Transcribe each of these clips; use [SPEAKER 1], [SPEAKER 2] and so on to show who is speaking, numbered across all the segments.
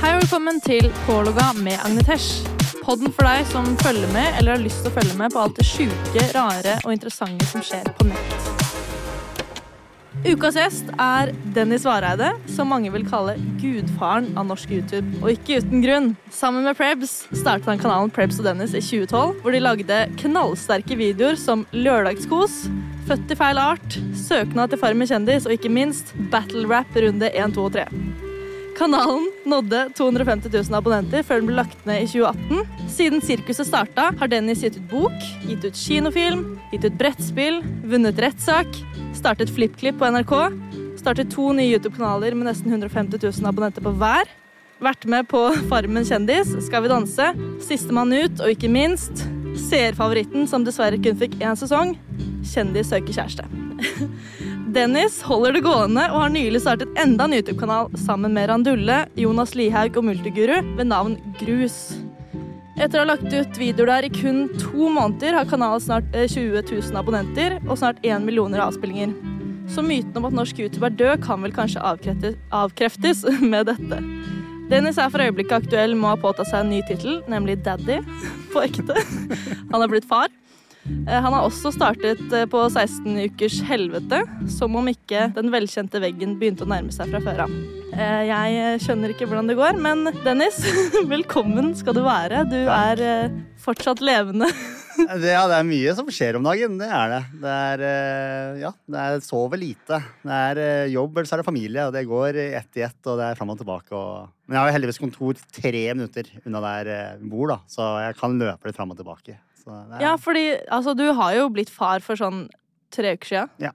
[SPEAKER 1] Hei og velkommen til Pålogga med Agnetesh. Podden for deg som følger med eller har lyst til å følge med på alt det sjuke, rare og interessante som skjer på nett. Ukas gjest er Dennis Vareide, som mange vil kalle gudfaren av norsk YouTube. Og ikke uten grunn. Sammen med Prebz startet han kanalen Prebz og Dennis i 2012, hvor de lagde knallsterke videoer som Lørdagskos, Født i feil art, Søknad til Farmen kjendis og ikke minst Battle Rap runde 1, 2 og 3. Kanalen nådde 250 000 abonnenter før den ble lagt ned i 2018. Siden sirkuset starta, har Dennis gitt ut bok, gitt ut kinofilm, gitt ut brettspill, vunnet rettssak, startet FlippKlipp på NRK, startet to nye YouTube-kanaler med nesten 150 000 abonnenter på hver, vært med på Farmen kjendis, Skal vi danse, Sistemann ut og ikke minst seerfavoritten som dessverre kun fikk én sesong, Kjendis søker kjæreste. Dennis holder det gående og har nylig startet enda en YouTube-kanal sammen med Randulle, Jonas Lihaug og Multiguru ved navn Grus. Etter å ha lagt ut videoer der i kun to måneder, har kanalen snart eh, 20 000 abonnenter og snart 1 millioner avspillinger. Så myten om at norsk YouTube er død, kan vel kanskje avkreftes, avkreftes med dette. Dennis er for øyeblikket aktuell med å ha påtatt seg en ny tittel, nemlig Daddy, på ekte. Han er blitt far. Eh, Han har også startet eh, på 16 ukers helvete, som om ikke den velkjente veggen begynte å nærme seg fra før av. Eh, Jeg eh, skjønner ikke hvordan det går, men Dennis, velkommen skal du være. Du er eh, fortsatt levende.
[SPEAKER 2] Det, ja, det er mye som skjer om dagen. Det er det. Det er, eh, ja, det er sove lite. Det er eh, jobb, eller så er det familie. Og det går i ett i ett, og det er fram og tilbake. Og... Men jeg har jo heldigvis kontor tre minutter unna der eh, vi bor, da. Så jeg kan løpe litt fram og tilbake. Så det er,
[SPEAKER 1] Ja, fordi altså, du har jo blitt far for sånn tre uker siden.
[SPEAKER 2] Ja.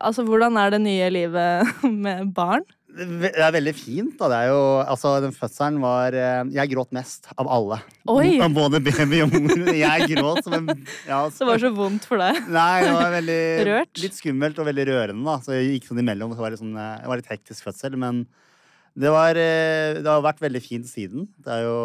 [SPEAKER 1] Altså, hvordan er det nye livet med barn?
[SPEAKER 2] det er ve- det er veldig fint, da. Det er jo Altså, den fødselen var eh, Jeg gråt mest av alle.
[SPEAKER 1] Oi!
[SPEAKER 2] Av Både baby og mor. Jeg gråt som en ja,
[SPEAKER 1] Det var så vondt for deg.
[SPEAKER 2] Nei, det var veldig
[SPEAKER 1] Rørt?
[SPEAKER 2] Litt skummelt og veldig rørende. da Så jeg gikk sånn imellom. Så var det, sånn, eh, det var litt hektisk fødsel, men det, var, eh, det har vært veldig fint siden. Det er jo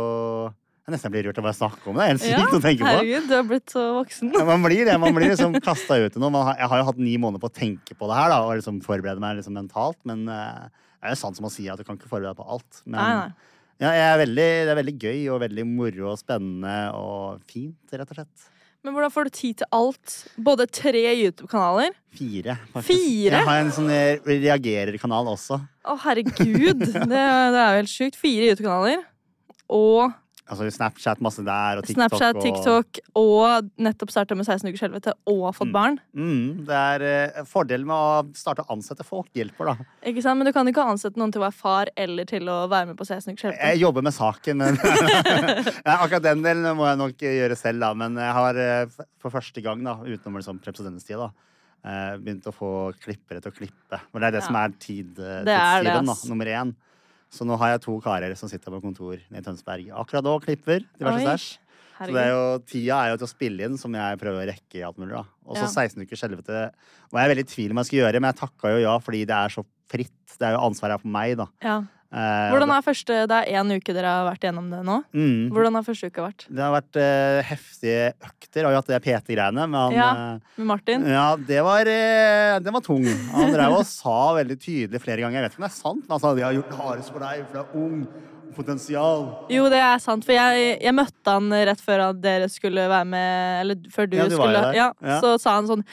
[SPEAKER 2] Jeg nesten blir rørt av å bare snakke om det. Det er helt sykt å tenke på.
[SPEAKER 1] herregud, du har blitt så voksen.
[SPEAKER 2] Ja, Man blir det. Man blir liksom kasta ut i noe. Man har, jeg har jo hatt ni måneder på å tenke på det her da og liksom forberede meg liksom mentalt, men eh, det er jo sant som man sier at du kan ikke forberede deg på alt. Men
[SPEAKER 1] Nei, nei.
[SPEAKER 2] Ja, jeg er veldig, det er veldig gøy og veldig moro og spennende og fint, rett og slett.
[SPEAKER 1] Men hvordan får du tid til alt? Både tre YouTube-kanaler?
[SPEAKER 2] Fire. faktisk.
[SPEAKER 1] Fire?
[SPEAKER 2] Jeg har en sånn eh, reagerer-kanal også.
[SPEAKER 1] Å, herregud! Det, det er jo helt sjukt. Fire YouTube-kanaler og
[SPEAKER 2] Altså Snapchat masse der, og TikTok.
[SPEAKER 1] Snapchat,
[SPEAKER 2] og-
[SPEAKER 1] TikTok og nettopp starta med 16 ukers helvete og fått barn.
[SPEAKER 2] Mm, det er eh, fordelen med å starte å ansette folk hjelper, da.
[SPEAKER 1] Ikke sant? Men du kan ikke ansette noen til å være far eller til å være med på 16 ukers helvete.
[SPEAKER 2] Jeg jobber med saken, men Ja, Akkurat den delen må jeg nok gjøre selv, da. Men jeg har eh, f- for første gang, da, utenom liksom presidentstida, da, eh, begynt å få klippere til å klippe. Men det er det
[SPEAKER 1] Ja.
[SPEAKER 2] som er tid, eh,
[SPEAKER 1] Det er det,
[SPEAKER 2] tidstyven, da.
[SPEAKER 1] ass.
[SPEAKER 2] Nummer én. Så nå har jeg to karer som sitter på kontor nede i Tønsberg akkurat nå og klipper diverse
[SPEAKER 1] Oi,
[SPEAKER 2] stæsj. Så det er
[SPEAKER 1] Herregud.
[SPEAKER 2] jo, tida er jo til å spille inn, som jeg prøver å rekke i alt mulig. da. Og så
[SPEAKER 1] Ja.
[SPEAKER 2] 16 ukers helvete var jeg veldig i tvil om jeg skulle gjøre, men jeg takka jo ja fordi det er så fritt. Det er jo ansvaret er på meg, da.
[SPEAKER 1] Ja.
[SPEAKER 2] Eh,
[SPEAKER 1] Hvordan er første Det er én uke dere har vært gjennom det nå.
[SPEAKER 2] Mm.
[SPEAKER 1] Hvordan har første uka vært?
[SPEAKER 2] Det har vært eh, heftige økter. Jeg har jo hatt det PT-greiene. Men han,
[SPEAKER 1] Ja.
[SPEAKER 2] eh,
[SPEAKER 1] Med Martin?
[SPEAKER 2] ja, det var, eh, den var tung. Han drev og sa veldig tydelig flere ganger. Jeg vet ikke om det er sant, men han sa de har gjort det hardest for deg, for du er ung. Potensial.
[SPEAKER 1] Jo, det er sant, for jeg, jeg møtte han rett før at dere skulle være med Eller før du,
[SPEAKER 2] Ja, du var jo
[SPEAKER 1] skulle
[SPEAKER 2] der.
[SPEAKER 1] ja,
[SPEAKER 2] Ja.
[SPEAKER 1] Så sa han sånn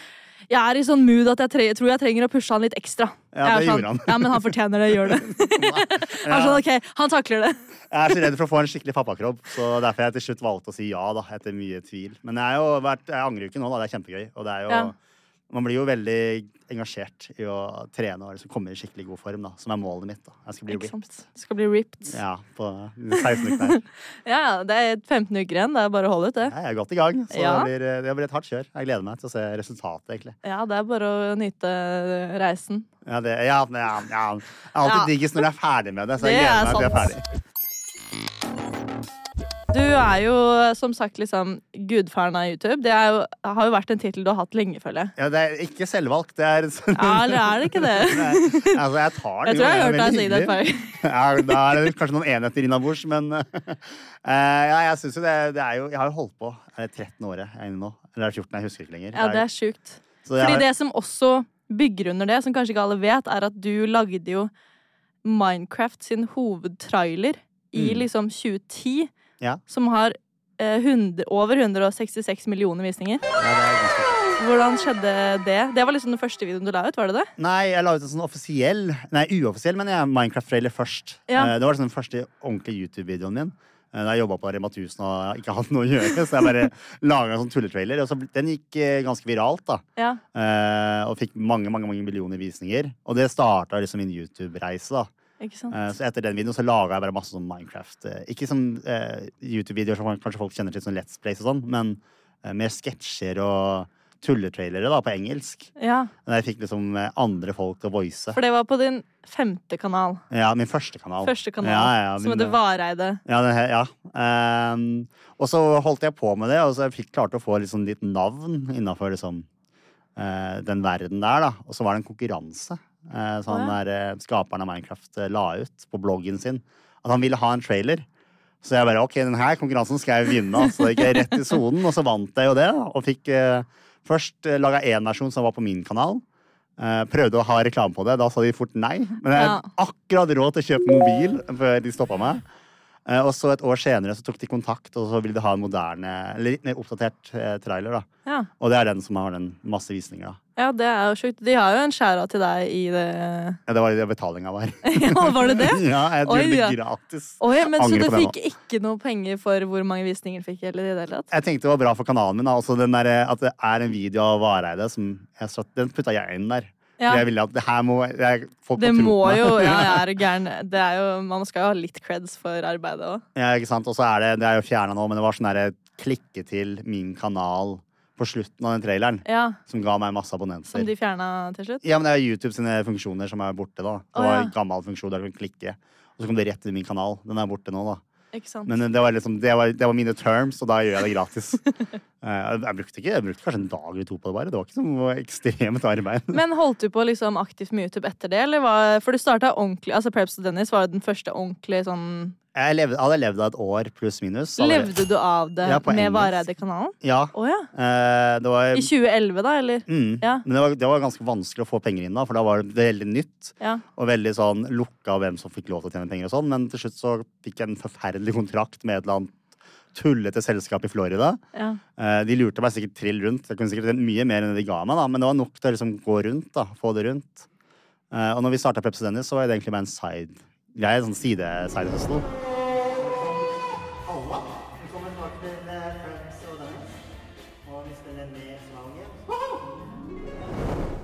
[SPEAKER 1] Jeg er i sånn mood at jeg tre, tror jeg trenger å pushe han litt ekstra. Jeg
[SPEAKER 2] Ja,
[SPEAKER 1] er
[SPEAKER 2] det
[SPEAKER 1] sånn,
[SPEAKER 2] gjorde han.
[SPEAKER 1] Ja, men han fortjener det. Gjør det. Han er sånn, ok, han takler det.
[SPEAKER 2] Jeg er så redd for å få en skikkelig pappakropp, så derfor jeg til slutt valgte å si ja. da, etter mye tvil. Men jeg, har jo vært, jeg angrer jo ikke nå, da. Det er kjempegøy. Og det er jo,
[SPEAKER 1] Ja.
[SPEAKER 2] Man blir jo veldig engasjert i å trene og liksom komme i skikkelig god form, da, som er målet mitt. da. Jeg skal bli
[SPEAKER 1] Ikke
[SPEAKER 2] ripped.
[SPEAKER 1] sant? Det skal bli ripped. Ja,
[SPEAKER 2] Ja, på 16 uker der.
[SPEAKER 1] ja, det er 15 uker igjen. Det er bare å holde ut, det.
[SPEAKER 2] Jeg er godt i gang, så
[SPEAKER 1] Ja.
[SPEAKER 2] det, blir, eh, det blir et hardt kjør. Jeg gleder meg til å se resultatet, egentlig.
[SPEAKER 1] Ja, det er bare å nyte reisen.
[SPEAKER 2] Ja, det, ja, ja, ja. Det er
[SPEAKER 1] Ja.
[SPEAKER 2] alltid diggest når jeg er ferdig med det, så jeg
[SPEAKER 1] Det
[SPEAKER 2] gleder
[SPEAKER 1] er
[SPEAKER 2] meg til jeg er
[SPEAKER 1] sant.
[SPEAKER 2] ferdig.
[SPEAKER 1] Du er jo som sagt liksom gudfaren av YouTube. Det er jo, har jo vært en tittel du har hatt lenge, føler jeg.
[SPEAKER 2] Ja, det er ikke selvvalgt, det er sånn-
[SPEAKER 1] Ja, eller er det ikke det?
[SPEAKER 2] Altså, jeg tar
[SPEAKER 1] Jeg tror jeg
[SPEAKER 2] den jo, det
[SPEAKER 1] har
[SPEAKER 2] er
[SPEAKER 1] hørt deg
[SPEAKER 2] veldig
[SPEAKER 1] si det et par
[SPEAKER 2] hyggelig.
[SPEAKER 1] ganger.
[SPEAKER 2] ja, da er det kanskje noen enheter innabords, men eh, ja, jeg synes jo det, det er jo Jeg har jo holdt på. Er det 13 året jeg er inne nå? Eller er det 14? Jeg husker ikke lenger.
[SPEAKER 1] Ja, det er sjukt.
[SPEAKER 2] så jeg
[SPEAKER 1] Fordi
[SPEAKER 2] har-
[SPEAKER 1] det som også bygger under det, som kanskje ikke alle vet, er at du lagde jo Minecraft sin hovedtrailer i
[SPEAKER 2] Mm.
[SPEAKER 1] liksom 2010,
[SPEAKER 2] Ja.
[SPEAKER 1] som har eh, 100, over 166 millioner visninger.
[SPEAKER 2] ja, det er ganske
[SPEAKER 1] Hvordan skjedde det? Det var liksom den første videoen du la ut, var det det?
[SPEAKER 2] Nei, jeg la ut en sånn offisiell Nei, uoffisiell, men jeg Minecraft-trailer først.
[SPEAKER 1] Ja.
[SPEAKER 2] Eh, Det var liksom den første ordentlige YouTube-videoen min. eh, Da jeg jobba på Rema 1000 og ikke hadde noe å gjøre. Så jeg bare laga en sånn tulletrailer. Og så bl- den gikk eh, ganske viralt, da.
[SPEAKER 1] Ja.
[SPEAKER 2] Eh, Og fikk mange, mange mange millioner visninger. Og det starta liksom min YouTube-reise, da.
[SPEAKER 1] Ikke sant?
[SPEAKER 2] Eh, Så etter den videoen så laga jeg bare masse sånn Minecraft. eh, Ikke sånn eh, YouTube-videoer som kanskje folk kjenner til, sånn Let's Plays og sånn, men eh, mer sketsjer og tulletrailere, da, på engelsk.
[SPEAKER 1] Ja,
[SPEAKER 2] Men jeg fikk liksom eh, andre folk til å voice.
[SPEAKER 1] for det var på din femte kanal.
[SPEAKER 2] Ja, min første kanal.
[SPEAKER 1] Første kanal,
[SPEAKER 2] Ja, ja,
[SPEAKER 1] som
[SPEAKER 2] min-
[SPEAKER 1] heter Vareide.
[SPEAKER 2] Ja, den her, ja. Ehm, og så holdt jeg på med det, og så jeg fikk klarte å få liksom litt navn innafor liksom, eh, den verden der. da. Og så var det en konkurranse eh, som han
[SPEAKER 1] Å,
[SPEAKER 2] der, eh, skaperen av Minecraft eh, la ut på bloggen sin. At han ville ha en trailer. Så jeg bare ok, den her konkurransen skal jeg vinne. altså. Så gikk jeg rett i sonen, og så vant jeg jo det. da. Og fikk eh, først eh, laga én versjon som var på min kanal. Eh, prøvde å ha reklame på det, da sa de fort nei. Men jeg
[SPEAKER 1] Ja.
[SPEAKER 2] hadde akkurat råd til å kjøpe mobil før de stoppa meg. Eh, og så et år senere så tok de kontakt, og så ville de ha en moderne, eller litt mer oppdatert eh, trailer. da.
[SPEAKER 1] Ja.
[SPEAKER 2] Og det er den som har den masse visninger, da.
[SPEAKER 1] ja, det er jo sjukt. De har jo en skjæra til deg i det
[SPEAKER 2] Ja, det var det betalinga var.
[SPEAKER 1] Ja, var det det?
[SPEAKER 2] ja, jeg
[SPEAKER 1] Oi,
[SPEAKER 2] gjorde det
[SPEAKER 1] ja.
[SPEAKER 2] gratis.
[SPEAKER 1] Oi, men Så
[SPEAKER 2] Angrer
[SPEAKER 1] du
[SPEAKER 2] på det nå.
[SPEAKER 1] fikk ikke noe penger for hvor mange visninger du fikk? Eller i det hele tatt?
[SPEAKER 2] Jeg tenkte det var bra for kanalen min, da. Også den der, eh, at det er en video av Vareide som jeg satt, Den putta jeg inn der.
[SPEAKER 1] Ja.
[SPEAKER 2] For Jeg ville at det her må jeg, folk
[SPEAKER 1] Det
[SPEAKER 2] tro på
[SPEAKER 1] må
[SPEAKER 2] meg.
[SPEAKER 1] jo Ja, jeg er gæren. Det er jo, man skal jo ha litt creds for arbeidet òg.
[SPEAKER 2] Ja, ikke sant? Og så er det, det er jo fjerna nå, men det var sånn derre klikke til min kanal på slutten av den traileren.
[SPEAKER 1] Ja,
[SPEAKER 2] Som ga meg masse abonnenter.
[SPEAKER 1] som de fjerna til slutt.
[SPEAKER 2] Ja, men det er jo YouTube sine funksjoner som er borte, da. Det
[SPEAKER 1] Å,
[SPEAKER 2] var
[SPEAKER 1] ja.
[SPEAKER 2] en gammel funksjon der du kan klikke, og så kom det rett til min kanal. Den er borte nå, da.
[SPEAKER 1] Ikke sant?
[SPEAKER 2] Men det var, liksom, det var, det var mine terms, og da gjør jeg det gratis. Eh, jeg, brukte ikke, jeg brukte kanskje en dag eller to på det bare. Det var ikke noe ekstremt arbeid.
[SPEAKER 1] Men holdt du på liksom aktivt med YouTube etter det? Eller var, for du starta ordentlig altså Preps og Dennis var jo den første ordentlig sånn
[SPEAKER 2] Jeg levde, hadde levd av et år pluss minus. så hadde-
[SPEAKER 1] Levde du av det
[SPEAKER 2] Ja, på
[SPEAKER 1] med
[SPEAKER 2] engelsk.
[SPEAKER 1] Vareide-kanalen?
[SPEAKER 2] Ja.
[SPEAKER 1] Å ja.
[SPEAKER 2] eh, det var,
[SPEAKER 1] I 2011, da, eller?
[SPEAKER 2] mm,
[SPEAKER 1] Ja.
[SPEAKER 2] Men det var, det var ganske vanskelig å få penger inn da, for da var det veldig nytt.
[SPEAKER 1] Ja.
[SPEAKER 2] Og veldig sånn lukka hvem som fikk lov til å tjene penger og sånn. Men til slutt så fikk jeg en forferdelig kontrakt med et eller annet tullete selskap i Florida.
[SPEAKER 1] ja.
[SPEAKER 2] Eh, De lurte meg sikkert trill rundt. Jeg kunne sikkert tjent mye mer enn de ga meg, da, men det var nok til å liksom gå rundt. da, få det rundt. Eh, Og når vi starta Pepsi Dennis, så var det egentlig bare en side greie, sånn side, side hustle.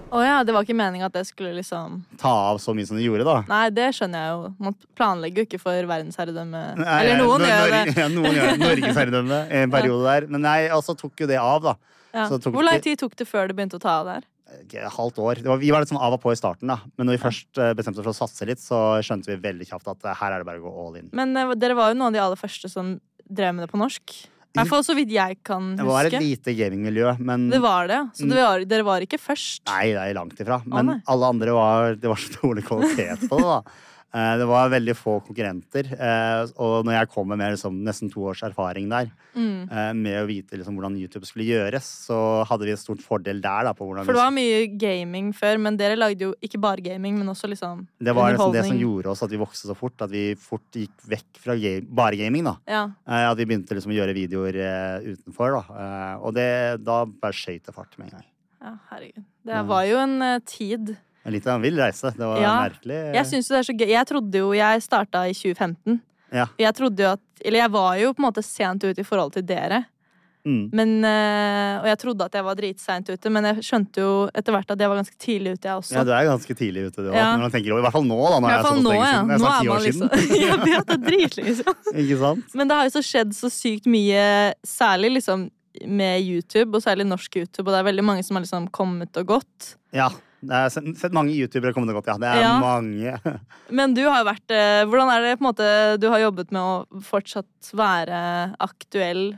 [SPEAKER 1] Å ja, det var ikke meninga at det skulle liksom
[SPEAKER 2] ta av så mye som de gjorde, da.
[SPEAKER 1] Nei, det skjønner jeg jo. Man planlegger jo ikke for verdensherredømme.
[SPEAKER 2] Nei,
[SPEAKER 1] Eller noen
[SPEAKER 2] Nor-
[SPEAKER 1] gjør
[SPEAKER 2] Norge-
[SPEAKER 1] det.
[SPEAKER 2] Ja, noen gjør det. Norgesherredømme i en periode der. Men nei, altså tok jo det av, da.
[SPEAKER 1] Ja.
[SPEAKER 2] Så det tok
[SPEAKER 1] Hvor lang
[SPEAKER 2] ikke-
[SPEAKER 1] tid tok det før det begynte å ta av der?
[SPEAKER 2] Ikke et halvt år. Det var, vi var litt sånn av og på i starten, da. Men når vi først eh, bestemte oss for å satse litt, så skjønte vi veldig kjapt at eh, her er det bare å gå all in.
[SPEAKER 1] Men eh, dere var jo noen av de aller første som drev med det på norsk. I hvert fall så vidt jeg kan
[SPEAKER 2] Det var et
[SPEAKER 1] huske.
[SPEAKER 2] lite gamingmiljø, men
[SPEAKER 1] Det var det, ja. Så det var, dere var ikke først.
[SPEAKER 2] Nei, det er langt ifra. Men
[SPEAKER 1] nei.
[SPEAKER 2] alle andre var Det var så dårlig kvalitet på det, da. Eh, Det var veldig få konkurrenter. eh, Og når jeg kommer med liksom nesten to års erfaring der,
[SPEAKER 1] Mm.
[SPEAKER 2] eh, med å vite liksom hvordan YouTube skulle gjøres, så hadde vi en stort fordel der. da, på hvordan
[SPEAKER 1] For det
[SPEAKER 2] vi,
[SPEAKER 1] var mye gaming før, men dere lagde jo ikke bare gaming, men også liksom
[SPEAKER 2] det var liksom det som
[SPEAKER 1] underholdning.
[SPEAKER 2] gjorde oss at vi vokste så fort. At vi fort gikk vekk fra ga- bare gaming. da.
[SPEAKER 1] Ja.
[SPEAKER 2] Eh, At vi begynte liksom å gjøre videoer eh, utenfor. da. Eh, Og det, da bare skøyt det fart med en gang.
[SPEAKER 1] ja, herregud. Det var jo en eh, tid.
[SPEAKER 2] En litt av en vill reise. Det var
[SPEAKER 1] Ja.
[SPEAKER 2] merkelig.
[SPEAKER 1] Jeg syns jo det er så gøy. Jeg trodde jo Jeg starta i 2015.
[SPEAKER 2] Ja.
[SPEAKER 1] Jeg trodde jo at Eller jeg var jo på en måte sent ut i forhold til dere.
[SPEAKER 2] Mm.
[SPEAKER 1] Men, eh, og jeg trodde at jeg var dritseint ute, men jeg skjønte jo etter hvert at jeg var ganske tidlig ute, jeg også.
[SPEAKER 2] Ja, du er ganske tidlig ute, du òg.
[SPEAKER 1] Ja.
[SPEAKER 2] Når man tenker over- I hvert fall nå, da. Nå
[SPEAKER 1] I
[SPEAKER 2] er
[SPEAKER 1] hvert
[SPEAKER 2] jeg
[SPEAKER 1] fall nå,
[SPEAKER 2] såpass lenge
[SPEAKER 1] ja.
[SPEAKER 2] siden.
[SPEAKER 1] Nå
[SPEAKER 2] Det er snart
[SPEAKER 1] er
[SPEAKER 2] ti
[SPEAKER 1] man
[SPEAKER 2] år
[SPEAKER 1] liksom
[SPEAKER 2] siden.
[SPEAKER 1] Jeg vet det er dritlenge liksom.
[SPEAKER 2] Ikke sant?
[SPEAKER 1] Men det har jo så skjedd så sykt mye, særlig liksom med YouTube, og særlig norsk YouTube, og det er veldig mange som har liksom kommet og gått.
[SPEAKER 2] Ja. Jeg har sett sett mange youtubere komme det godt, ja. Det er
[SPEAKER 1] Ja.
[SPEAKER 2] mange.
[SPEAKER 1] Men du har jo vært eh, Hvordan er det på en måte du har jobbet med å fortsatt være aktuell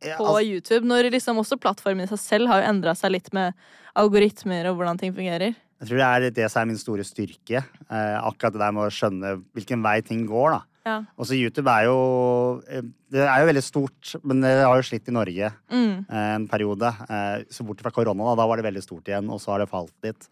[SPEAKER 2] Ja,
[SPEAKER 1] på
[SPEAKER 2] altså,
[SPEAKER 1] YouTube, når liksom også plattformen i seg selv har jo endra seg litt med algoritmer og hvordan ting fungerer?
[SPEAKER 2] jeg tror det er det som er min store styrke. Eh, akkurat det der med å skjønne hvilken vei ting går, da.
[SPEAKER 1] Ja.
[SPEAKER 2] Også YouTube er jo eh, Det er jo veldig stort, men det har jo slitt i Norge
[SPEAKER 1] Mm.
[SPEAKER 2] eh, en periode. Eh, så bort fra korona, da, da var det veldig stort igjen, og så har det falt litt.